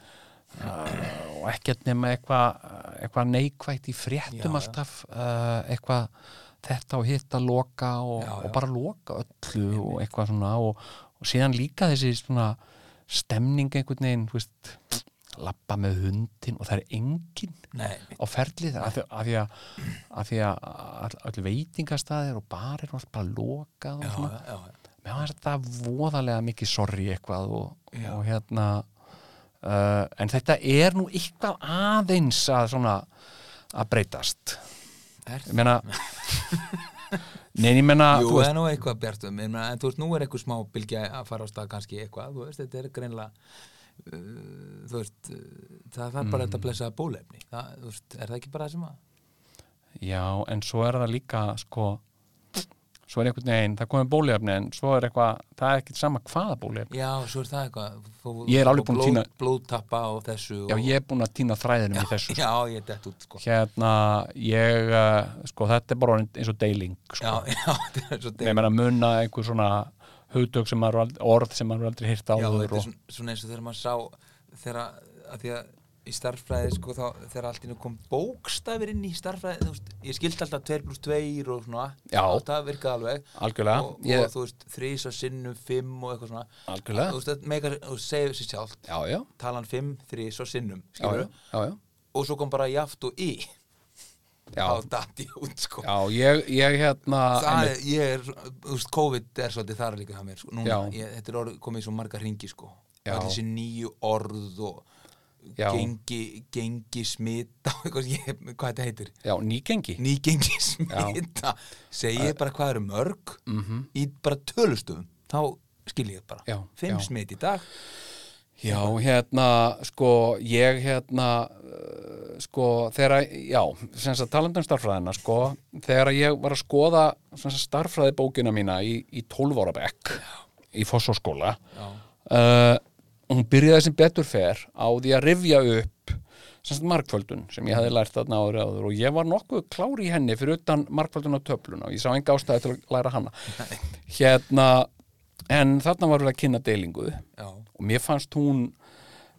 S4: uh, og ekkert nema eitthvað eitthva neikvætt í
S5: Já, já.
S4: fréttum alltaf uh, eitthvað þetta og hitt að loka og,
S5: Já, já.
S4: og bara loka öllu og eitthvað svona og, og síðan líka þessi svona stemning einhvern veginn, þú veist lappa með hundin og það er enginn
S5: Nei,
S4: á ferlið af því af því að, af því að all, öll veitingastæðir og barir og allt bara lokað
S5: já,
S4: og svona
S5: já, já,
S4: mér fannst þetta voðalega mikið sorgi eitthvað og,
S5: Já.
S4: og hérna uh, en þetta er nú eitthvað aðeins að svona að breytast
S5: Er
S4: ég
S5: (laughs)
S4: meina nein, ég meina
S5: Jú,
S4: þú
S5: það er nú eitthvað bjartum en, en þú veist, nú er eitthvað smá bylgja að fara á stað kannski eitthvað, þú veist, þetta er greinlega uh, þú veist uh, það þarf
S4: Mhm.
S5: bara þetta að blessa bólefni það, þú veist, er það ekki bara það sem að
S4: Já, en svo er það líka sko svo er einhvern veginn, það komið bóliðafni en svo er eitthvað, það er ekkert sama hvaða bóliðafni
S5: já, svo er það eitthvað fó,
S4: Ég er alveg búinn að
S5: blóð,
S4: tína-
S5: blóðtappa og þessu
S4: Já,
S5: og,
S4: ég er búin að týna þræðinum í þessu sko.
S5: já, ég dett út, sko já,
S4: Hérna, ég uh, sko, þetta er bara orðin eins og deiling sko.
S5: já, (laughs) þetta er svo deyr-
S4: ég meina munna einhver svona hugtök sem maður aldrei, orð sem maður aldrei hýrt
S5: já,
S4: áður
S5: þetta er
S4: og,
S5: svona, svona eins og þegar maður sá þegar að því að í starffræði sko þá þegar allt innu kom bókstafir inn í starffræði þú veist, ég skildi alltaf 2 pluss 2 og svona
S4: Já.
S5: og það virkaði alveg
S4: Algjörlega.
S5: og, og
S4: Ég-
S5: þú veist þrís og sinnum 5 og eitthvað svona
S4: Algjörlega.
S5: þú veist það meikar og segir sér sjálft
S4: já, já,
S5: talan 5 þrís og
S4: já,
S5: sinnum
S4: já,
S5: skilurðu?
S4: já, já.
S5: og svo kom bara jaft og í
S4: Já.
S5: þá datt ég út sko
S4: Já, ég, ég hérna
S5: Það er,
S4: einmitt,
S5: ég er, þú veist, COVID er svolítið þar líka það mér, sko, núna,
S4: Já.
S5: ég, þetta er orð, komið í svo marga ringi, sko,
S4: Já.
S5: öll þessi nýju orð og
S4: Já.
S5: gengi, gengi smita, og eitthvað, ég, hvað þetta heitir,
S4: já, nýgengi
S5: nýgengi smita, segi ég bara hvað eru mörg, -hmm. í bara tölustöfum, þá skil ég bara,
S4: Mhm. Já,
S5: fimm
S4: já.
S5: smit í dag,
S4: Já, hérna, sko, ég hérna, uh, sko, þegar, að- já, sem sagt talandi um starffræðina, sko, þegar að ég var að skoða sem sagt starffræðibókina mína í, í 12 ára bekk í Fossóskóla, uh, hún byrjaði sem betur fer á því að rifja upp sem sagt markföldun sem ég hefði lært þarna áður áður og ég var nokkuð klári í henni fyrir utan markföldun á töfluna og ég sá enga ástæði til að læra hana. Hérna, en þarna var við að kynna deilinguð
S5: já,
S4: og mér fannst hún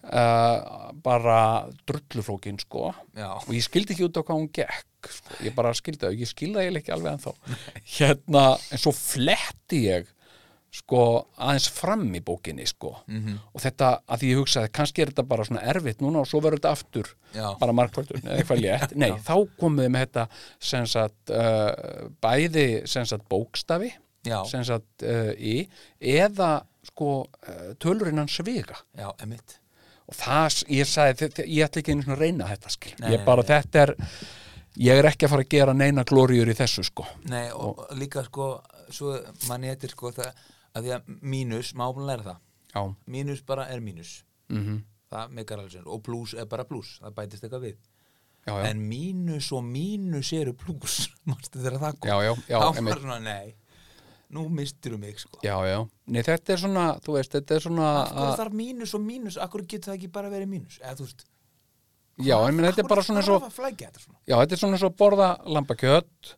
S4: uh, bara drulluflókin sko
S5: Já.
S4: og ég skildi ekki út á hvað hún gekk sko. ég bara skildi það, ég skildi það eiginlega ekki alveg ennþá hérna, en svo fletti ég sko aðeins fram í bókinni sko
S5: Mhm.
S4: -hmm. og þetta, að því ég hugsaði, kannski er þetta bara svona erfitt núna og svo verður þetta aftur
S5: Já.
S4: bara markvöldun, eða eitthvað létt nei, þá komuði með þetta sem sagt, uh, bæði sem sagt bókstafi
S5: Já.
S4: sem sagt uh, í eða sko uh, tölurinn hans sviga
S5: já, emitt,
S4: og það, s- ég sagði, þe- þe- ég ætla ekki einu svona að reyna þetta skil,
S5: Nei,
S4: ég bara,
S5: nei,
S4: þetta er ég er ekki að fara að gera neina glóriur í þessu sko,
S5: nei, og, og líka, sko, svo manni þetta, sko, það, að því að mínus, má búin að læra það,
S4: já,
S5: mínus bara er mínus
S4: Mhm.
S5: -hmm. það meikar alveg sér og plús er bara plús, það bætist eitthvað við
S4: já, já
S5: en mínus og mínus eru (laughs) plús mástu þegar það kom
S4: Já, já, já,
S5: þá var
S4: einmitt.
S5: svona, nei, nú mistirum mig sko
S4: já, já, nei þetta er svona þú veist, þetta er svona
S5: hvað
S4: að-
S5: þarf mínus og mínus, akkur getur það ekki bara verið mínus eða þú veist
S4: já, en þetta er bara svona
S5: svo
S4: svo
S5: að flækja þetta svona
S4: já, þetta er svona svo að borða lambakjöt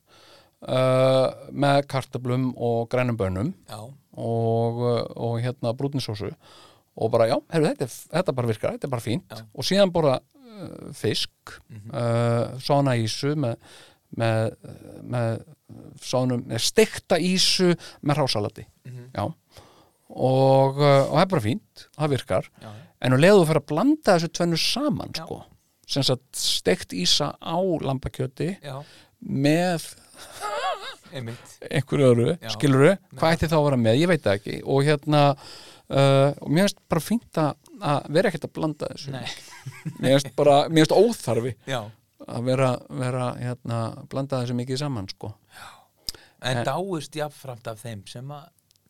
S4: uh, með kartablum og grænum bönum
S5: já,
S4: og, og hérna brúninsósu og bara já, heyrðu, þetta, er- þetta bara virkar, þetta er bara fínt og síðan borða uh, fisk mm
S5: Mhm.
S4: sána ísu með, með, með sánum, með stekta ísu með rásalati
S5: Mhm.
S4: já og, uh, og það er bara fínt, það virkar
S5: Já.
S4: en nú leiðu þú fyrir að blanda þessu tvennu saman sko, sem sagt stekt ísa á lambakjöti
S5: já,
S4: með
S5: einmitt
S4: einhverju öðru,
S5: Já.
S4: skiluru hvað ætti þá að vera með, ég veit það ekki og hérna, uh, og mér finnst bara fínt að að vera ekkert að blanda þessu
S5: Nei.
S4: (laughs) mér finnst bara, mér finnst óþarfi
S5: já,
S4: að vera, vera hérna, blanda þessu mikið saman sko.
S5: en, dáist jafnframt af þeim sem að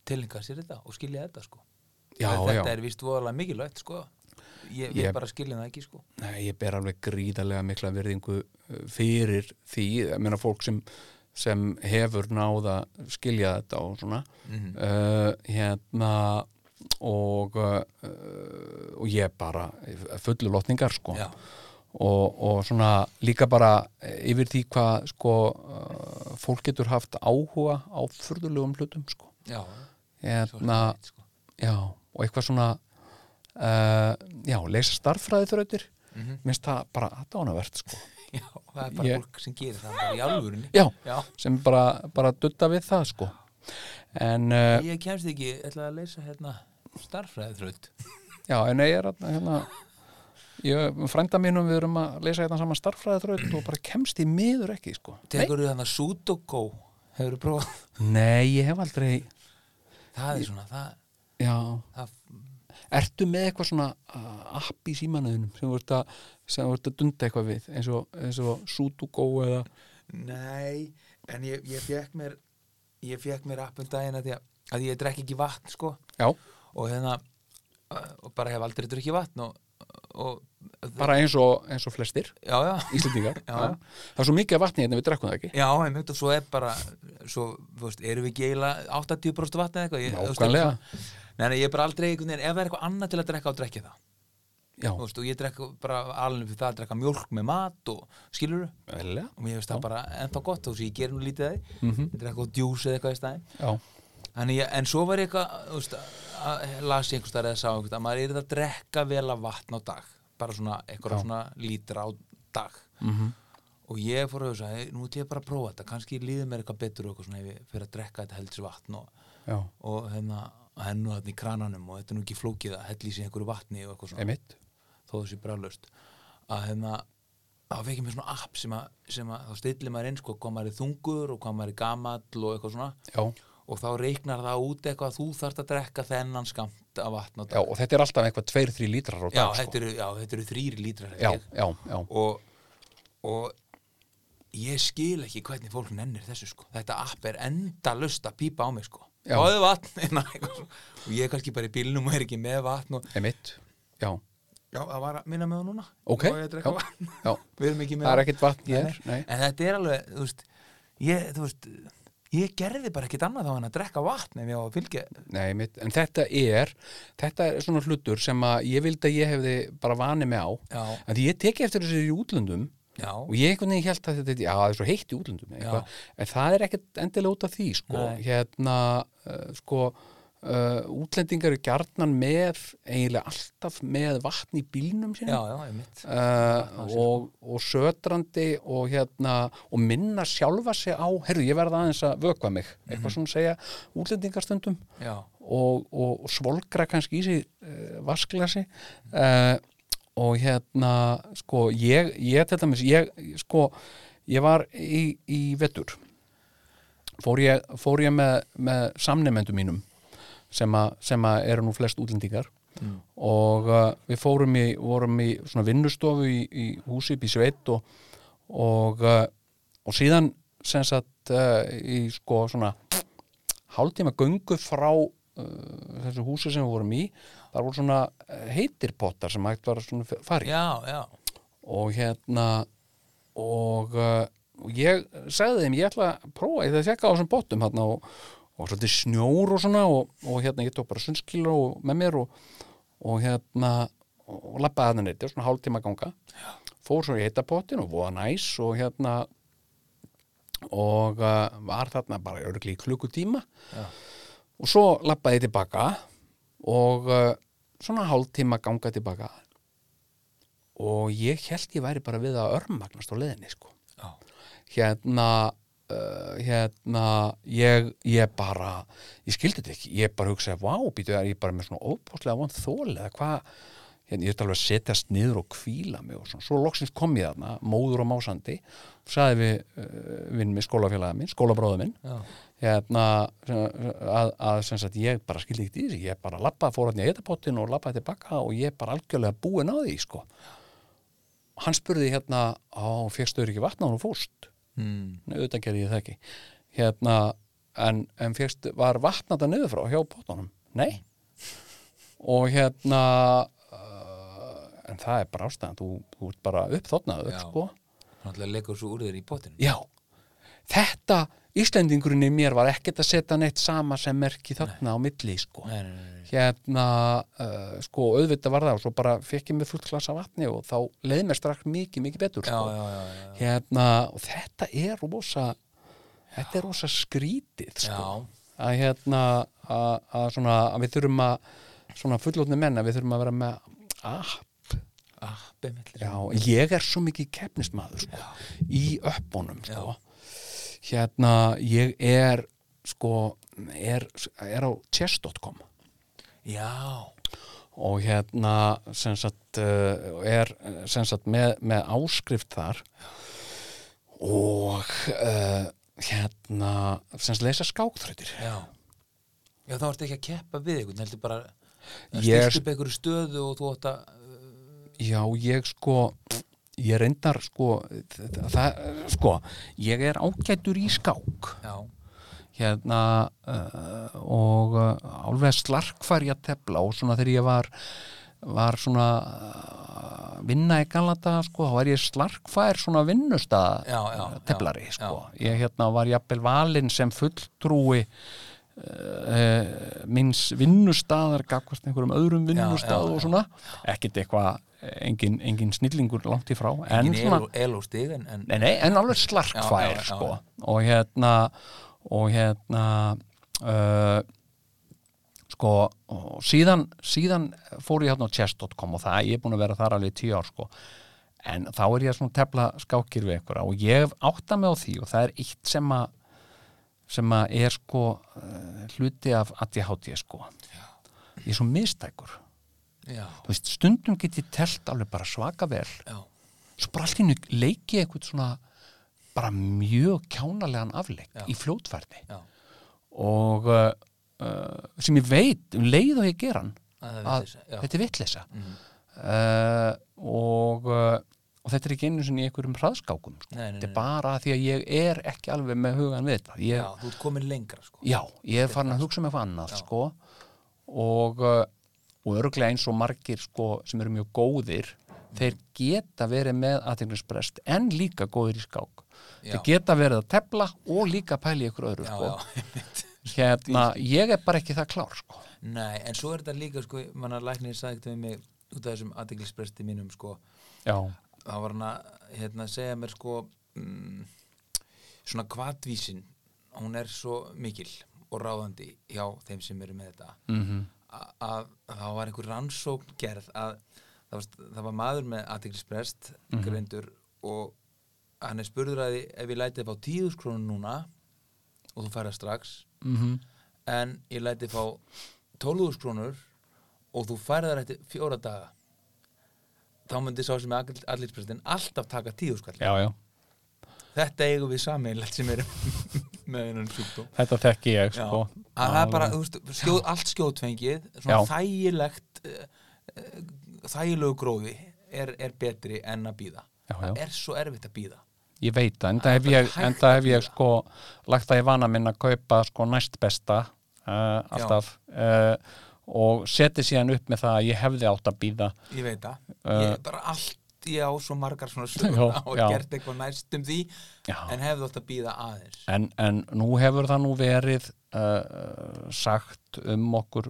S5: tilinga sér þetta og skilja þetta sko
S4: já,
S5: En þetta
S4: já,
S5: er vist voðalega mikilvægt sko ég, ég
S4: Ég-
S5: bara skilja það ekki sko
S4: eh, Nei, ég ber alveg gríðarlega mikla verðingu uh, fyrir því, ég meina fólk sem sem hefur náða skilja þetta og svona uh, hérna og uh, og ég bara fullu lotningar sko
S5: Já.
S4: og, og svona líka bara yfir því hvað sko uh, fólk getur haft áhuga á furðulegum hlutum sko
S5: já,
S4: hérna,
S5: sko.
S4: já, og eitthvað svona uh, já, leysa starffræði þrautir
S5: Mhm.
S4: minnst það bara aðdánavert sko.
S5: já, það er bara
S4: Ég-
S5: fólk sem gerir það bara í alvörunni
S4: já,
S5: Já.
S4: sem bara, bara dutta við það sko. en uh,
S5: ég kemst ekki, ég ætla að leysa hérna starffræðið þröld
S4: já, en ég er þarna, hérna ég, frænda mínum við erum að leysa hérna saman starffræði þraut og bara kemst í miður ekki sko. nei,
S5: tekur þú þannig sudoku hefur þú prófað,
S4: nei, ég hef aldrei
S5: það er svona það,
S4: já,
S5: það
S4: Ertu með eitthvað svona uh, app í símanuðinum sem þú ert að, sem þú ert að dunda eitthvað við eins og, eins og Sudoku eða
S5: Nei, en ég, ég fekk mér ég fekk mér app um daginn að, að, að ég drekki ekki vatn sko
S4: Já,
S5: og hérna uh, og bara hef aldrei drukkið vatn og, og
S4: bara eins og, eins og flestir
S5: já, já,
S4: Íslendingar
S5: Já.
S4: Það er svo mikið af vatni hérna við drekkum það ekki
S5: já, einmitt og svo er bara svo, þú veist, erum við ekki eiginlega 80% vatn eða eitthvað Ég- þú veist,
S4: Nákvæmlega.
S5: Nei, nei, ég er bara aldrei einhvern veginn, ef það er eitthvað annað til að drekka og drekki það,
S4: Já,
S5: þú veist, og ég drekka bara alveg fyrir það að drekka mjólk með mat og skilur
S4: velja
S5: og mér finnst það bara ennþá gott þó sem ég ger nú lítið það mm
S4: Mhm.
S5: -hmm. drekka og djús eða eitthvað í staðin
S4: Já,
S5: Þannig, ég- en svo var ég eitthvað, þú veist, að lasi einhvers þar eða sá einhvers að maður er að drekka vel af vatn á dag, bara svona eitthvað svona lítra á dag. -hmm. Og ég fór að hugsa, hey, nú ætlum ég bara að prófa þetta, kannski líður mér eitthvað betur og eitthvað svona ef ég fyrir að drekka þetta helds vatn og,
S4: já,
S5: og hérna, hennu þarna í krananum og þetta er nú ekki flókið að hella í sig einhverju vatni og eitthvað svona
S4: einmitt
S5: þó það sé brálust að hérna þá fekk ég mér svona app sem að, sem að þá stillir maður inn sko hvað maður er þungur og hvað maður er gamall og eitthvað svona
S4: Já.
S5: og þá reiknar það út eitthvað að þú þarft að drekka þennan skamt af vatn á
S4: Já,
S5: dag
S4: og þetta er alltaf eitthvað tveir, þrý lítrar á dag
S5: já,
S4: sko.
S5: þetta eru, já, þetta eru þrýri lítrar held
S4: já,
S5: ég.
S4: já, já,
S5: og, og ég skil ekki hvernig fólk nennir þessu sko þetta app er endalust að pípa á mig sko
S4: Já.
S5: fáðu vatn (laughs) Nei, eitthvað svona. og ég er kannski bara í bílnum og er ekki með vatn og,
S4: einmitt Já,
S5: já, það var að minna með það núna
S4: ok
S5: Nú á ég að
S4: já,
S5: drekka vatn. (laughs)
S4: já.
S5: Við erum ekki með
S4: Það er ekkit vatn hér Nei,
S5: En þetta er alveg, þú veist, ég, þú veist, ég gerði bara ekkit annað þá en að drekka vatn ef ég á að fylgja.
S4: Nei, mitt, en þetta er þetta er svona hlutur sem að ég vildi að ég hefði bara vanið mig á
S5: Já.
S4: að því ég teki eftir þessu í útlöndum
S5: Já.
S4: og ég einhvern veginn held að þetta já, það er svo heitt í útlöndum eitthvað, en það er ekkert endilega út af því sko,
S5: Nei.
S4: hérna uh, sko Uh, útlendingar eru gjarnan með eiginlega alltaf með vatn í bílnum
S5: Já,
S4: sinni
S5: já, ég mitt.
S4: uh, og, og södrandi og hérna og minna sjálfa sig á herru, ég verða aðeins að vökva mig eitthvað
S5: Mhm.
S4: svona segja útlendingarstundum
S5: Já.
S4: og, og, og svolgra kannski í sig uh, vasklasi uh, og hérna sko, ég, ég til dæmis ég, sko, ég var í, í vettur fór ég, fór ég með, með samnemendum mínum sem, a, sem a eru nú flest útlendingar og uh, við fórum í, vorum í svona vinnustofu í, í húsi upp í sveit og, og, uh, og síðan sem sagt uh, í sko svona hálftíma göngu frá uh, þessu húsi sem við vorum í þar voru svona eh, heitir pottar sem hægt var að svona f- fara í
S5: Já, já.
S4: og hérna og, uh, og ég sagði þeim ég ætla að prófa, ég ætla að sjekka á þessum bóttum hérna, og, og svolítið snjór og svona og, og hérna ég tók bara sunnskíla og með mér og, og hérna og, og labbaði hérna neitt, svona hálftíma ganga fór svo í heita pottin og voða næs og hérna og uh, var þarna bara örgli í klukkutíma Já. og svo labbaði ég tilbaka og uh, svona hálftíma ganga tilbaka og ég held ég væri bara við að örmagnast á leiðinni sko
S5: Já.
S4: hérna uh, hérna ég, ég bara, ég skildi þetta ekki ég bara hugsaði, vá, býtu, er ég bara með svona ópáslega von þól eða hvað hérna, ég ætti alveg að setjast niður og kvíla mig og svona, svo loksins kom ég þarna móður og másandi, sagði við uh, vinn með skólafélaga minn, skólabróða minn
S5: Já.
S4: hérna sem- að, að sem sagt ég bara skildi ekkert í þessu ég bara lappaði, fór hann í eitapottin og lappaði tilbaka og ég bara algjörlega búin á því sko hann spurði hérna á, fegstuður ekki vatna hún fórst
S5: Mm.
S4: Nei, auðvitað gerði ég það ekki hérna, en, en fegst var vatnata niður frá hjá bóttunum nei og hérna uh, en það er bara ástæðan þú, þú ert bara uppþotnaður
S5: Já.
S4: sko
S5: Þannig að leikur svo úr þér í bótinu.
S4: já, þetta Íslendingurinn í mér var ekkert að setja neitt sama sem merki þarna á milli sko.
S5: Nei, nei, nei, nei.
S4: hérna uh, sko auðvitað var það og svo bara fekk ég mér fullt glasa af vatni og þá leið mér strax mikið, mikið betur
S5: Já,
S4: sko.
S5: já, já, já.
S4: hérna og þetta er rosa þetta er rosa skrítið sko. að hérna að, að svona að við þurfum að svona fullotni menna við þurfum að vera með app
S5: Ah, bemmellir.
S4: Já, ég er svo mikið keppnismadur sko, í öppunum sko. hérna ég er sko er, er á chess.com
S5: Já.
S4: og hérna sem sagt, uh, er sem sagt, með, með áskrift þar og uh, hérna sem sagt, lesa skákþrautir
S5: Já. Já, þá ertu ekki að keppa við einhvern, heldur bara að
S4: Ég er-
S5: styrst upp einhverju stöðu og þú átt að
S4: Já, ég sko ég reyndar sko þ- það, sko, ég er ágætur í skák
S5: Já,
S4: hérna uh, og uh, alveg slarkfær ég að tefla og svona þegar ég var var svona uh, vinna í Galata sko, þá var ég slarkfær svona vinnustad
S5: Já, já, já,
S4: teflari
S5: já.
S4: sko, ég hérna var jafnvel valinn sem fulltrúi uh, minns vinnustaðar gagvast einhverjum öðrum vinnustað
S5: já, já.
S4: og svona, ekkert eitthvað engin, engin snillingur langt í frá en
S5: engin
S4: svona,
S5: el, el og stig en, en
S4: Nei, nei, en alveg
S5: Já, já,
S4: slarkfær
S5: já,
S4: sko. og hérna og hérna uh, sko og síðan, síðan fór ég hérna á chess.com og það, ég er búin að vera þar alveg í tíu ár sko en þá er ég svona að tefla skákir við einhverja og ég átta mig á því og það er eitt sem að sem að er sko uh, hluti af ADHD sko ég er svo mistækur
S5: Já,
S4: þú veist, stundum get ég telt alveg bara svaka vel
S5: já,
S4: svo bara allt í hennu leiki ég eitthvað svona bara mjög kjánalegan afleik í fljótfærni
S5: já
S4: og uh, uh, sem ég veit um leið og ég ger hann
S5: Að það er vitleysa, já. Mhm.
S4: þetta er vitleysa uh, og, uh, og þetta er ekki einu sinni í einhverjum hraðskákum sko.
S5: Nei, nei,
S4: þetta er bara því að ég er ekki alveg með hugan við þetta
S5: Já,
S4: ég,
S5: þú ert komin lengra sko
S4: Já, ég er farin að hugsa um eitthvað annað sko, og, uh, og örglega eins og margir sko, sem eru mjög góðir
S5: Mhm.
S4: þeir geta verið með aðteglisbrest en líka góðir í skák
S5: Já.
S4: þeir geta verið að tefla og líka pæli ykkur öðru
S5: Já, (laughs)
S4: sko.
S5: já, einmitt.
S4: hérna, ég er bara ekki það klár sko.
S5: Nei, en svo er þetta líka sko, manna læknir sagði þetta við mig út af þessum aðdeglisbresti mínum sko,
S4: Já,
S5: þá var hann að hérna, segja mér sko mm, svona kvatvísin hún er svo mikil og ráðandi hjá þeim sem eru með þetta -hmm. að það var einhver rannsókn gerð að það var, það var maður með aðdeglisbrest greindur og hann er spurður að því ef ég læti upp á tíðus krónu núna og þú færa strax
S4: mhm.
S5: en ég læti fá 12.000 krónur og þú færðar eftir fjóra daga þá myndi sá sem er allirprestin alltaf taka 10.000 skall
S4: já, já,
S5: þetta eigum við sameinlegt sem erum (laughs) með hennan sjúkdóm
S4: þetta þekki ég
S5: Já.
S4: sko.
S5: að það er bara, þú veist, skjóð, allt skjóðtvengið svona
S4: Já.
S5: þægilegt uh, uh, þægilegu gróði er, er betri en að býða
S4: Já, já.
S5: það er svo erfitt að býða
S4: Ég veit það, enda hef
S5: Það er
S4: ég,
S5: hægt
S4: enda hef
S5: að
S4: ég
S5: bíða.
S4: sko lagt það í vana minn að kaupa sko næst besta uh, alltaf uh, og seti síðan upp með það að ég hefði átt að býða
S5: ég veit það, ég er bara allt ég á svo margar
S4: (laughs)
S5: svona sögur
S4: Eh. Já,
S5: og
S4: já.
S5: gert eitthvað næstum því
S4: Já.
S5: en hefði þótt að býða aðeins
S4: en, en nú hefur það nú verið uh, sagt um okkur,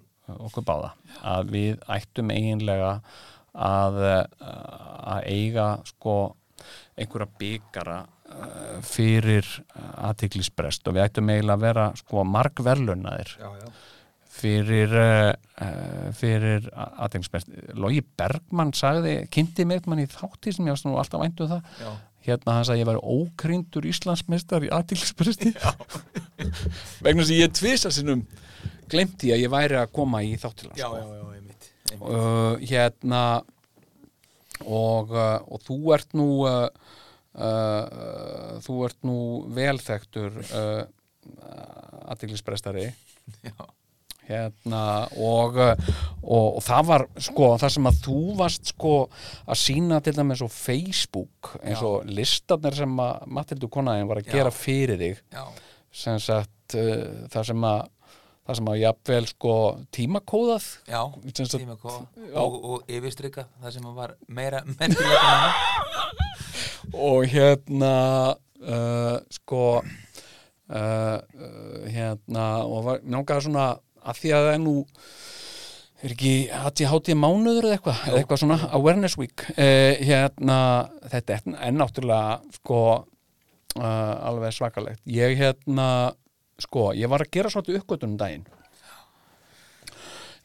S4: okkur báða að við ættum eiginlega að, uh, að eiga sko einhverja byggara uh, fyrir aðtiklisbrest og við ættum eiginlega að vera sko margverlunaðir
S5: já, já
S4: fyrir uh, uh, fyrir aðeinsbært Logi Bergmann sagði, kynnti mig mann í þátti sem ég varst nú alltaf væntu um það
S5: Já.
S4: hérna hann sagði ég væri ókryndur Íslandsmeistar í aðeinsbærti (laughs) vegna sem ég tvisa sinnum glemti að ég væri að koma í þáttilans
S5: já, já, já, einmitt, einmitt.
S4: uh, hérna og, uh, og þú ert nú uh, uh, þú ert nú velþektur uh, aðeinsbærtari
S5: Já.
S4: hérna og, uh, og, og það var sko það sem að þú varst sko að sína til dæmis á Facebook eins og listarnir sem að Matildur Konaðin var að
S5: Já.
S4: gera fyrir þig
S5: já,
S4: sem sagt uh, það sem að það sem að jafnvel sko tímakóðað
S5: já,
S4: Sem sagt-
S5: tíma kóða
S4: Já.
S5: og, og yfirstrykka það sem var meira merkilega
S4: og hérna uh, sko uh, uh, hérna og var, nángaði svona að því að það er nú er ekki hatt ég hátið mánuður eða eitthvað eða eitthvað svona awareness week uh, hérna þetta er enn náttúrulega sko uh, alveg svakalegt ég hérna sko ég var að gera svolítið uppgötunum daginn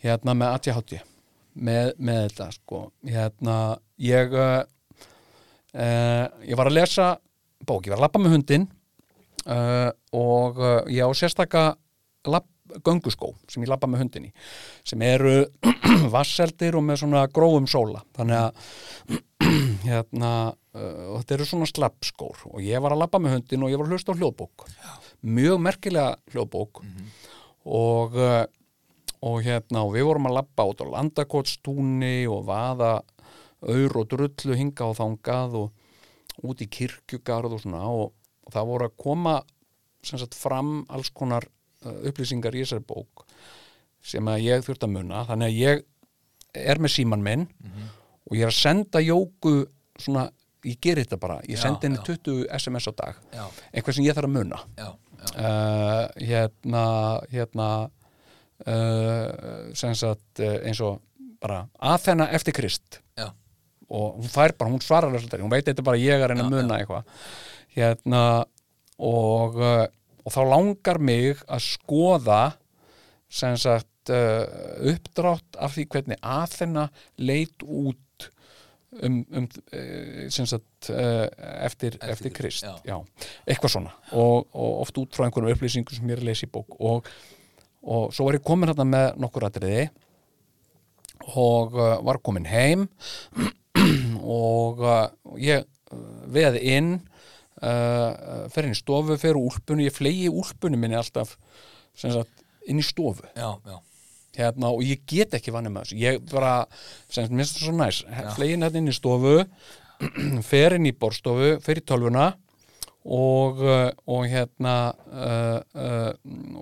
S4: hérna með ADHD með, með þetta sko hérna ég uh, uh, ég var að lesa bók, ég var að labba með hundin uh, og uh, ég á sérstaka labb, gönguskó sem ég labba með hundin í sem eru (clears throat) vasseldir og með svona grófum sóla þannig að (clears throat) hérna, uh, og þetta eru svona slappskór og ég var að labba með hundin og ég var að hlusta á hljóðbók mjög merkilega hljóðbók og, uh, og hérna og við vorum að labba út á landakotstúni og vaða aur og drullu hinga og þangað og út í kirkjugarð og svona og, og það voru að koma sem sagt fram alls konar uh, upplýsingar í þessari bók sem að ég þurft að muna þannig að ég er með síman minn
S5: Mhm.
S4: og ég er að senda Jóku svona, ég geri þetta bara ég
S5: Já,
S4: sendi henni
S5: já.
S4: 20 SMS á dag
S5: Já.
S4: eitthvað sem ég þarf að muna
S5: já, já,
S4: uh, hérna hérna uh, sem sagt uh, eins og bara Athena eftir Krist
S5: já,
S4: og hún fær bara, hún svarar þessu þetta hún veit þetta er bara ég er að reyna að muna eitthvað hérna og, uh, og þá langar mig að skoða sem sagt uh, uppdrátt af því hvernig Athena leit út um, um uh, sem sagt uh, eftir, eftir,
S5: Eftir Krist,
S4: Krist
S5: já.
S4: Já, eitthvað svona og, og oft út frá einhverjum upplýsingum sem ég er að lesa í bók og, og svo var ég komin hérna með nokkur atriði og uh, var komin heim og uh, ég uh, veð inn uh, fer inn í stofu, fer úr úlpunni ég flegi úlpunni minni alltaf sem sagt, inn í stofu
S5: já, já.
S4: hérna, og ég get ekki vanið með þessu ég bara, sem sagt, minnst það svo næs flegin hérna inn í stofu fer inn í borstofu, fer í tölvuna og, uh, og hérna uh, uh,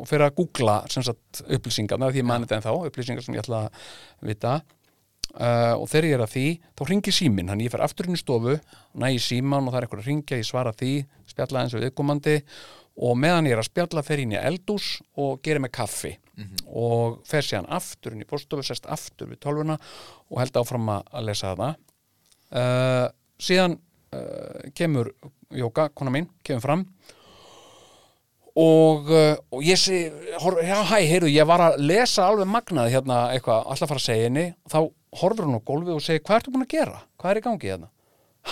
S4: og fer að googla sem sagt upplýsingarna, því ég mani þetta en þá upplýsingar sem ég ætla að vita uh, og þegar ég er að því, þá ringi símin þannig ég fer aftur inn í stofu, næ í síman og það er eitthvað að ringja, ég svara því spjalla eins og viðkomandi og meðan ég er að spjalla fer ég inn í eldús og gerir mig kaffi og fer síðan aftur inn í borstofu, sest aftur við tölvuna og held áfram að að lesa það uh, síðan uh, kemur Jóka, kona mín, kemur fram og, uh, og ég sé, hor, já, hæ, heyrðu, ég var að lesa alveg magnað hérna eitthvað, alltaf fara að segja henni, þá horfur hún á gólfið og segir, hvað ertu búin að gera? Hvað er í gangi hérna?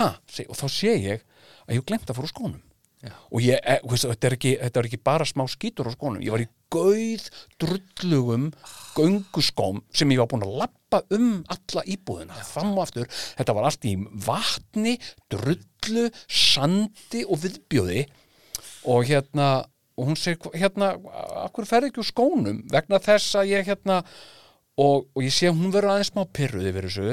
S4: Ha, seg, og þá sé ég að ég glemt að fór úr skónum. Já. Og ég, e, veist, þetta, er ekki, þetta er ekki bara smá skítur á skónum, ég var í gauð drullugum gönguskóm sem ég var búin að lappa um alla íbúðina, fram og aftur, þetta var allt í vatni, drullu, sandi og viðbjóði og hérna og hún segir, "Hva- hérna, af hverju ferði ekki úr skónum vegna þess að ég hérna og, og ég sé að hún verður aðeins smá pyrruð yfir þessu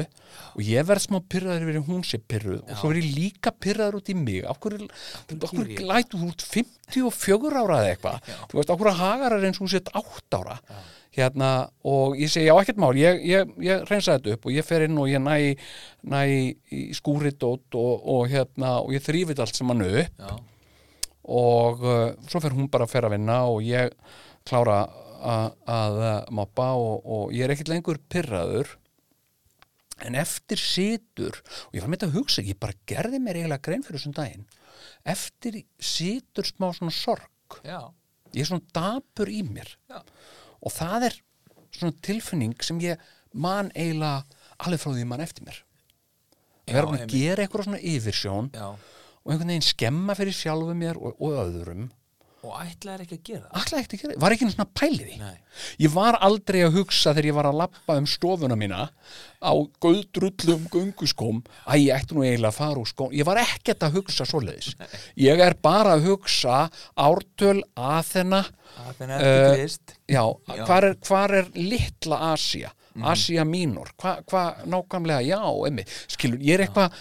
S4: og ég verð smá pyrraður yfir því að hún sé pyrruð og svo verð ég líka pyrraður út í mig af hverju, af hverju glætu út 54 ára eða eitthvað þú veist, af hverju hagar er eins og hún sett 8 ára hérna og ég segi já ekkert mál, ég, ég, ég reynsa þetta upp og ég fer inn og ég næ, í- næ í- í skúridót og, og hérna og ég þrýfið allt sem hann upp
S5: já.
S4: og uh, svo fer hún bara að fer að vinna og ég klára a- að uh, moppa og, og ég er ekkert lengur pyrraður en eftir situr og ég var með þetta að hugsa, ég bara gerði mér eiginlega grein fyrir þessum daginn eftir situr smá svona sorg
S5: já.
S4: ég er svona dapur í mér
S5: Já.
S4: og það er svona tilfinning sem ég man eiginlega alveg frá því ég man eftir mér að vera búin að
S5: einmitt.
S4: gera eitthvað svona yfirsjón
S5: já.
S4: og einhvern veginn skemma fyrir sjálfu mér og, og öðrum
S5: og ætlaðir ekki að gera það
S4: alltaf ekkert að gera, var ekki einu svona pælið í
S5: Nei.
S4: ég var aldrei að hugsa þegar ég var að lappa um stofuna mína á gauðdrullum gunguskóm að ég ætti nú eiginlega að fara úr skóm ég var ekkert að hugsa svoleiðis ég er bara að hugsa ártöl Athena
S5: Athena eftir
S4: eh,
S5: Krist.
S4: já,
S5: Já. Mhm.
S4: Hvar, er, hvar er litla Asia Asia mínor, hvað hva, nákvæmlega já, emmi, skilur, ég er eitthvað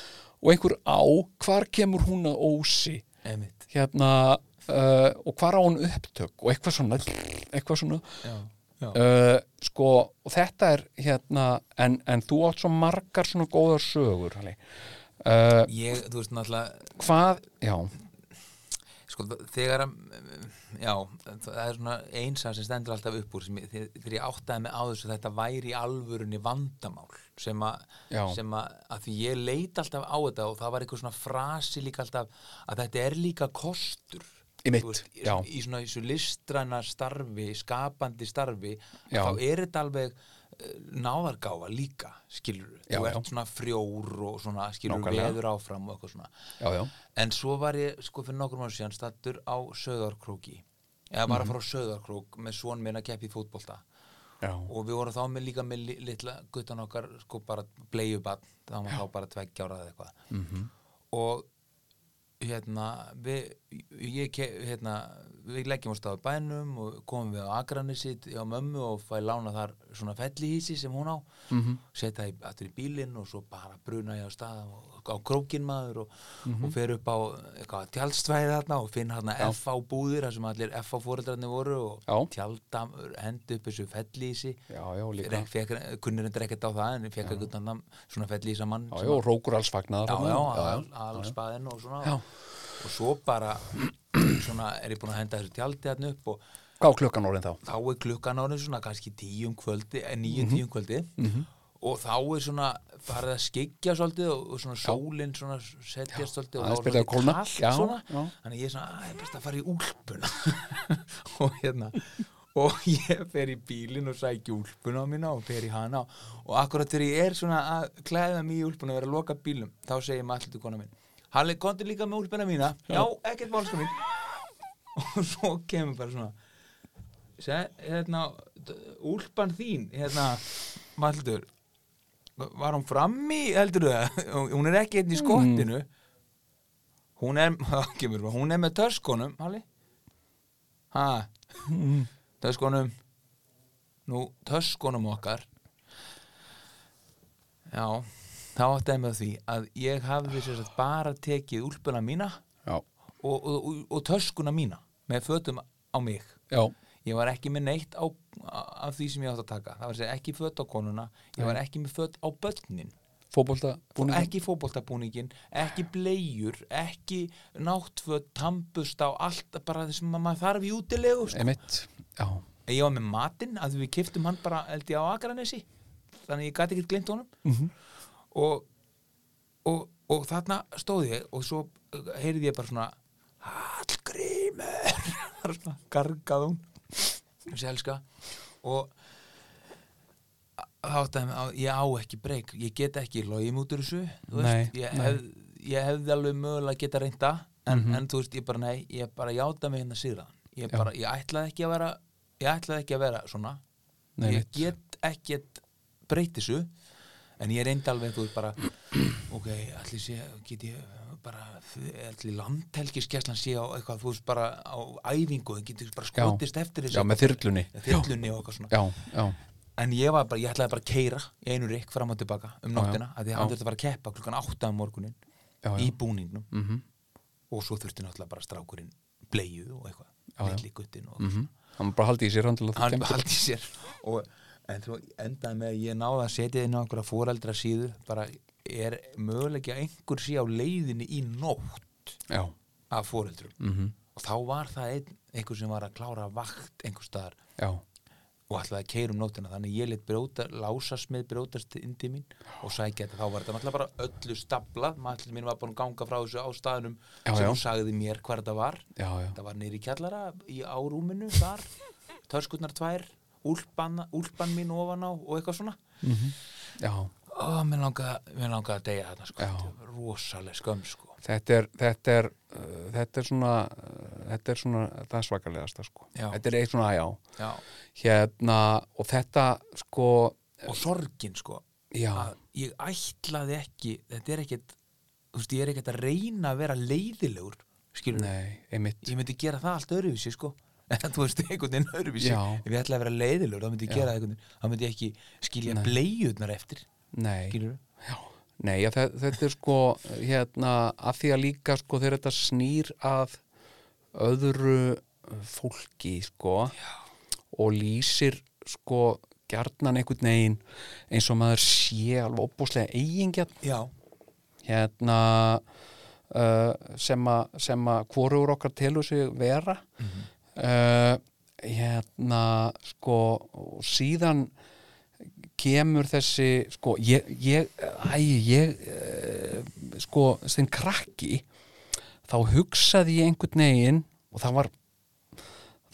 S4: og einhver á, hvar kemur hún að ósi
S5: einmitt
S4: hérna uh, og hvar á hún upptök og eitthvað svona eitthvað svona
S5: já, já.
S4: uh, sko og þetta er hérna en, en þú átt svo margar svona góðar sögur Halli. uh,
S5: ég, þú veist náttúrulega
S4: hvað, já
S5: sko, þ- þegar að, já, það er svona einsa sem stendur alltaf upp úr sem ég, þe- þegar ég áttaði mig á þessu þetta væri í alvörunni vandamál sem að,
S4: Já.
S5: sem að, að því ég leit alltaf á þetta og það var eitthvað svona frasi líka alltaf að þetta er líka kostur
S4: Í mitt,
S5: Þú veist, í,
S4: já.
S5: í svona í þessu listræna starfi, skapandi starfi
S4: Já.
S5: þá er þetta alveg eh, náðargáfa líka skilur,
S4: Já,
S5: þú
S4: já.
S5: ert svona frjór og svona skilur
S4: Nákvæmlega.
S5: veður áfram og eitthvað svona
S4: já, já,
S5: En svo var ég sko fyrir nokkur mánu síðan stattur á Söðarkróki eða var að fara á Söðarkrók með svon minn að keppi í fótbolta
S4: já,
S5: og við vorum þá með líka með li- litla guttan okkar sko bara bleiubann þá var þá bara tveggjára eða eitthvað -hmm. og hérna við, ég, ke- hérna, við leggjum á staðu bænum og komum við á Akranissi á mömmu og fæ lána þar svona fellihísi sem hún á mm
S4: Mhm.
S5: -hmm. setja í, aftur í bílinn og svo bara bruna ég á stað og, á krókin maður og, og fer upp á eitthvað, tjaldstvæði þarna og finn hérna FA búðir þar sem allir FA fóreldrarnir voru og
S4: Já.
S5: tjaldam hendi upp þessu fellihísi
S4: já, já, líka
S5: Rek, fekk, kunnir endur ekkert á það en fekk ekkert annan svona fellísa mann
S4: Já, já, og rókur alls fagnaðar
S5: já,
S4: þarna.
S5: já,
S4: hérna já,
S5: al,
S4: já.
S5: allspaðin og svona
S4: Já.
S5: og svo bara (clears throat) svona er ég búin að henda þessu tjaldi þarna upp og
S4: Hvað var klukkan orðin þá?
S5: þá er klukkan árið svona kannski tíum kvöldi eh, níu
S4: Mhm.
S5: tíum kvöldi og þá er svona farið að skyggja svolítið og, og svona sólinn svona setjast svolítið og
S4: aðeins
S5: þá er
S4: byrjað að kólna.
S5: kalt
S4: Já,
S5: svona
S4: já.
S5: þannig ég er svona, að ég er best að fara í úlpuna (laughs) og hérna og ég fer í bílinn og sæki úlpuna mína og fer í hana og akkurat þegar ég er svona að klæða mig í úlpuna og vera að loka bílum, þá segir maður alltaf kona mín Halli, komdu líka með úlpuna mína Já, ekkert málska mín (laughs) og svo kemur bara svona Se, hérna, d- úlpan þín hérna, Maldur var hún frammi, heldur það hún er ekki einn í skottinu hún er (laughs) þá kemur, bara, hún er með töskunum Halli ha, töskunum nú, töskunum okkar já þá áttaði með því að ég hafði sér sagt bara tekið úlpuna mína
S4: Já,
S5: og, og, og, og töskuna mína með fötum á mig
S4: já,
S5: ég var ekki með neitt á, af því sem ég átt að taka það var að segja ekki föt á konuna ég var ekki með föt á börnin
S4: fótbolta búningum.
S5: ekki fótboltabúningin, ekki bleiur ekki náttföt, tampust á allt, bara það sem maður þarf í útilegu sko.
S4: Einmitt, já,
S5: ég var með matinn, að við kiftum hann bara held ég á Akranesi, þannig ég gæti ekki glimt honum -hmm. og, og, og þarna stóð ég og svo uh, heyrði ég bara svona Hallgrímur (laughs) bara svona gargað hún þessi elska og þá áttaði mig á, ég á ekki breyk ég get ekki logið út úr þessu þú veist,
S4: Nei,
S5: ég,
S4: nei. Mhm.
S5: Hef, ég hefði alveg mögulega geta reynda en, en þú veist, ég bara nei, ég bara játa mig hérna síðan ég, bara, ég ætlaði ekki að vera ég ætlaði ekki að vera svona
S4: Nei,
S5: ég
S4: mitt.
S5: get ekkert breyti þessu en ég reyndi alveg þú veist bara ok, allir sé, get ég bara allir landhelgiskeslan sé á eitthvað, þú veist bara á æfingu en getur bara
S4: Já.
S5: skotist eftir þessu
S4: Já, með þyrlunni.
S5: þyrlunni og eitthvað svona
S4: já, já,
S5: en ég var bara, ég ætlaði bara að keira í einu rikk fram og tilbaka um nóttina
S4: já,
S5: að því að
S4: já.
S5: hann þurfti að fara að keppa klukkan 8 um morgunin
S4: Já, Mhm, já.
S5: í búningnum -hmm. og svo þurfti náttúrulega bara strákurinn bleju og eitthvað, litli guttin og eitthvað
S4: Mhm.
S5: svona
S4: hann bara haldi í sér hann til að það
S5: hann
S4: kemur.
S5: haldi í sér og, en þú endaði með að ég náði að setja inn á einhverja fóreldra síðu bara er möguleiki að einhver sé á leiðinni í nótt
S4: Já, mhm,
S5: af fóreldrum -hmm. og þá var það ein, einhver sem var að klára vakt einhver staðar
S4: já,
S5: og ætlaði að keyra um nótina þannig ég lit brjóta, lásast með brjótast inn til mín og sækja þetta þá var þetta náttúrulega bara öllu stablað maður mín var búin að ganga frá þessu á staðnum
S4: Já,
S5: sem
S4: já.
S5: hún sagði mér hvar þetta var
S4: já, já,
S5: þetta var niður í kjallara í árúminu (laughs) þar, törskurnar tvær úlpan, úlpan mín ofan á og eitthvað svona
S4: já.
S5: og mér langaði mér langaði að deyja þarna sko
S4: Já.
S5: Þetta var rosaleg skömm sko
S4: Þetta er, þetta er, uh, þetta er svona, uh, þetta er svona, það er svakalegasta, sko.
S5: Já.
S4: Þetta er eitt svona, já,
S5: já.
S4: hérna, og þetta, sko,
S5: og sorgin sko
S4: Já.
S5: að ég ætlaði ekki þetta er ekkert, þú veist, ég er ekkert að reyna að vera leiðilegur skilur
S4: nei, einmitt,
S5: ég myndi gera það allt öðruvísi sko (laughs) þú veist, einhvern veginn öðruvísi
S4: Já.
S5: ef ég ætlaði að vera leiðilegur, þá myndi ég gera það einhvern veginn þá myndi ég ekki skilja bleiðunar eftir
S4: nei.
S5: skilur
S4: Já, nei, já, þe- þetta er sko hérna, að því að líka sko þegar þetta snýr að öðru fólki sko já. og lýsir sko gjarnan einhvern veginn eins og maður sé alveg opbúslega eigingjarn
S5: já,
S4: hérna uh, sem, a, sem að hvorugur okkar telur sig vera mm hérna sko og síðan kemur þessi sko ég, ég, æ, ég eh, sko sem krakki þá hugsaði ég einhvern veginn og það var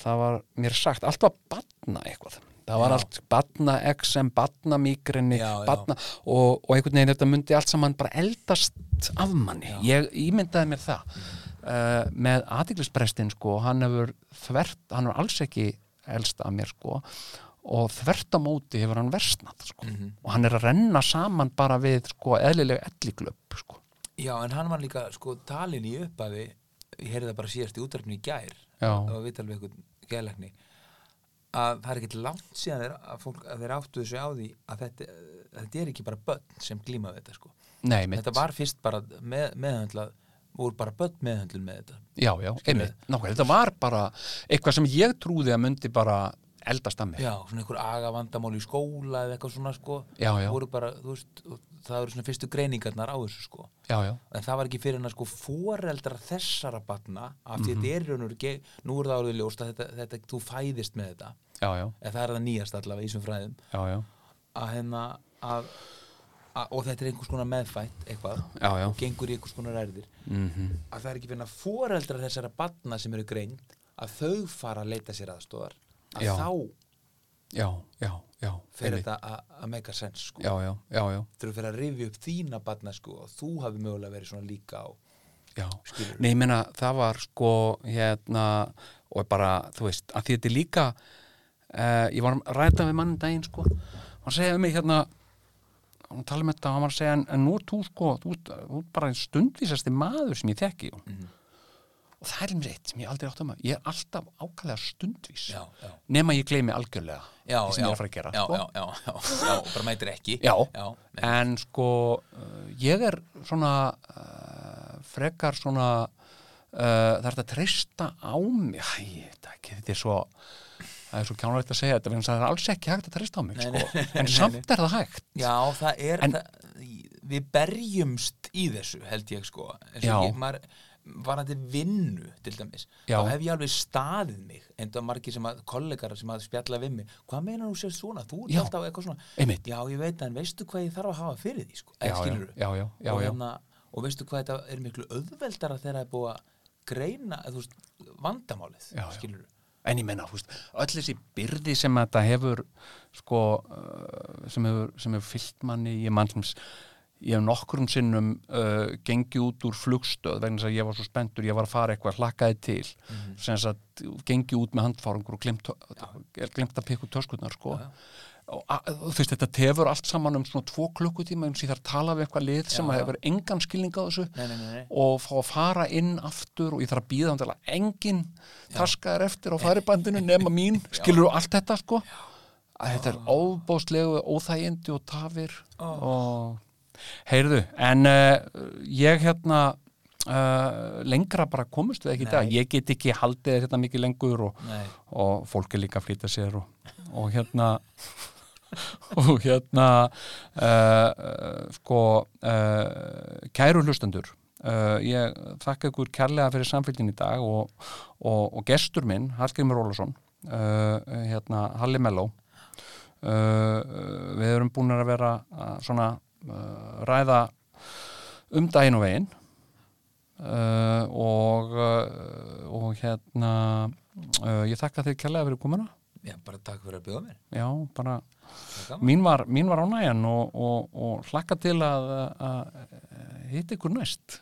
S4: það var mér sagt, allt var batna eitthvað það var
S5: Já.
S4: allt batna XM, batna migrini
S5: Já, já.
S4: batna, og, og einhvern veginn þetta myndi allt saman bara eldast af manni ég ímyndaði mér það uh, með aðtiklisprestin sko hann hefur þvert, hann hefur alls ekki elst af mér sko og þvert á móti hefur hann versnað sko.
S5: Mhm.
S4: og hann er að renna saman bara við sko eðlilega elliklöp sko.
S5: Já, en hann var líka sko talin í upphafi ég heyrði það bara síðast í útdarfinu í gær
S4: Já.
S5: það var vital við eitthvað gælækni að það er ekkert langt síðan þeir, að, fólk, að þeir áttu þessu á því að þetta, þetta er ekki bara börn sem glíma við þetta sko
S4: Nei, mitt.
S5: þetta var fyrst bara með, meðhandlað voru bara börn meðhandlun með þetta
S4: Já, já, einmitt, nákvæmlega, þetta var bara eitthvað sem ég trúði að myndi bara eldast að mig.
S5: Já, svona einhver agavandamál í skóla eða eitthvað svona sko
S4: Já, já.
S5: voru bara, þú veist, og það eru svona fyrstu greiningarnar á þessu sko
S4: já, já,
S5: en það var ekki fyrir en að sko foreldrar þessara batna af
S4: Mhm.
S5: því þetta er raunur ekki, nú er það orðið ljóst að þetta, þetta, þú fæðist með þetta
S4: já, já,
S5: en það er það nýjast allavega í þessum fræðum
S4: já, já,
S5: að hérna að, að, og þetta er einhvers konar meðfætt eitthvað
S4: já, já. Mhm.
S5: og gengur í einhvers konar erðir -hmm. að það er ekki fyrir en að foreldrar þessara batna sem eru greind að þau fara að leita sér aðstóðar að
S4: Já.
S5: þá
S4: já, já, já,
S5: fer
S4: einmitt.
S5: þetta að- að mega sens sko.
S4: Já, já, já, já,
S5: þurfum fyrir að rifja upp þína batna sko og þú hafi mögulega verið svona líka og
S4: já.
S5: Skilurðu?
S4: Nei, ég meina, það var sko, hérna, og bara, þú veist, að því þetta er líka, uh, ég var að ræta við mann um daginn, sko, hann segja um mig hérna, hann tala um þetta, hann var að segja, en, en nú er þú sko, þú ert þú ert bara stundvísasti maður sem ég þekki, mm
S5: Mhm.
S4: og það er mér eitt sem ég aldrei átt að maður, ég er alltaf ákvæðlega stundvís,
S5: Já, já.
S4: nema ég gleymi algjörlega,
S5: já,
S4: því sem ég er að fara að gera,
S5: já,
S4: sko.
S5: já, já, já, já, bara mætir ekki
S4: Já,
S5: nei.
S4: en sko uh, ég er svona uh, frekar svona uh, það er hægt að treysta á mig Æ, ég veit ekki, þetta er svo það er svo kjánulegt að segja þetta vegna þess að það er alls ekki hægt að treysta á mig sko. en samt er það hægt
S5: já, það er
S4: En-
S5: það, við berjumst í þessu held ég sko eins
S4: Já.
S5: og ég, maður, varandi vinnu til dæmis,
S4: Já.
S5: þá hef ég alveg staðið mig en það margir sem að kollegar sem að spjalla við mig, hvað meinar þú sér svona þú ert
S4: Já.
S5: alltaf eitthvað svona,
S4: Einmitt.
S5: já ég veit það, en veistu hvað ég þarf að hafa fyrir því sko,
S4: Já, já,
S5: skilurðu?
S4: já, já, já,
S5: og,
S4: já.
S5: hérna, og veistu hvað þetta er miklu auðveldara þegar það er búið að greina eða þú veist, vandamálið
S4: Já, já.
S5: skilurðu?
S4: en ég menna, húst, öll þessi byrði sem þetta hefur sko, uh, sem hefur, sem hefur fyllt manni ég mann sem s- ég hef nokkrum sinnum uh, gengið út úr flugstöð vegna þess að ég var svo spenntur, ég var að fara eitthvað hlakkaði til, sem þess að gengið út með handfárangur og glemt, glemt að pikku töskurnar sko. og a- þú veist, þetta tefur allt saman um svona tvo klukkutíma, eins og ég þarf að tala við eitthvað lið sem
S5: Já,
S4: að
S5: já.
S4: hefur engan skilning á þessu
S5: Nei, nei, nei, nei.
S4: og fá að fara inn aftur og ég þarf að býða hann til að engin taskaðar eftir á faribandinu nema
S5: (laughs)
S4: mín skilur þú allt þetta sko að þetta er óbóðslegu óþægindi og tafir og heyrðu en uh, ég hérna uh, lengra bara komust við ekki í dag ég get ekki haldið þetta mikið lengur og,
S5: Nei.
S4: og fólk er líka að flýta sér og, og hérna (laughs) og hérna uh, uh, sko uh, kæru hlustendur uh, ég þakka ykkur kærlega fyrir samfélgin í dag og, og, og gestur minn Hallgrimur Ólason uh, hérna Halli Melló uh, uh, við erum búin að vera að svona uh, ræða um daginn og veginn uh, og uh, og hérna uh, ég þakka þér kærlega fyrir komuna
S5: Já, bara takk fyrir að bjóða mér
S4: já, bara
S5: Það er gaman.
S4: mín var, mín var ánægjan og, og, og hlakka til að, að, að hitta ykkur næst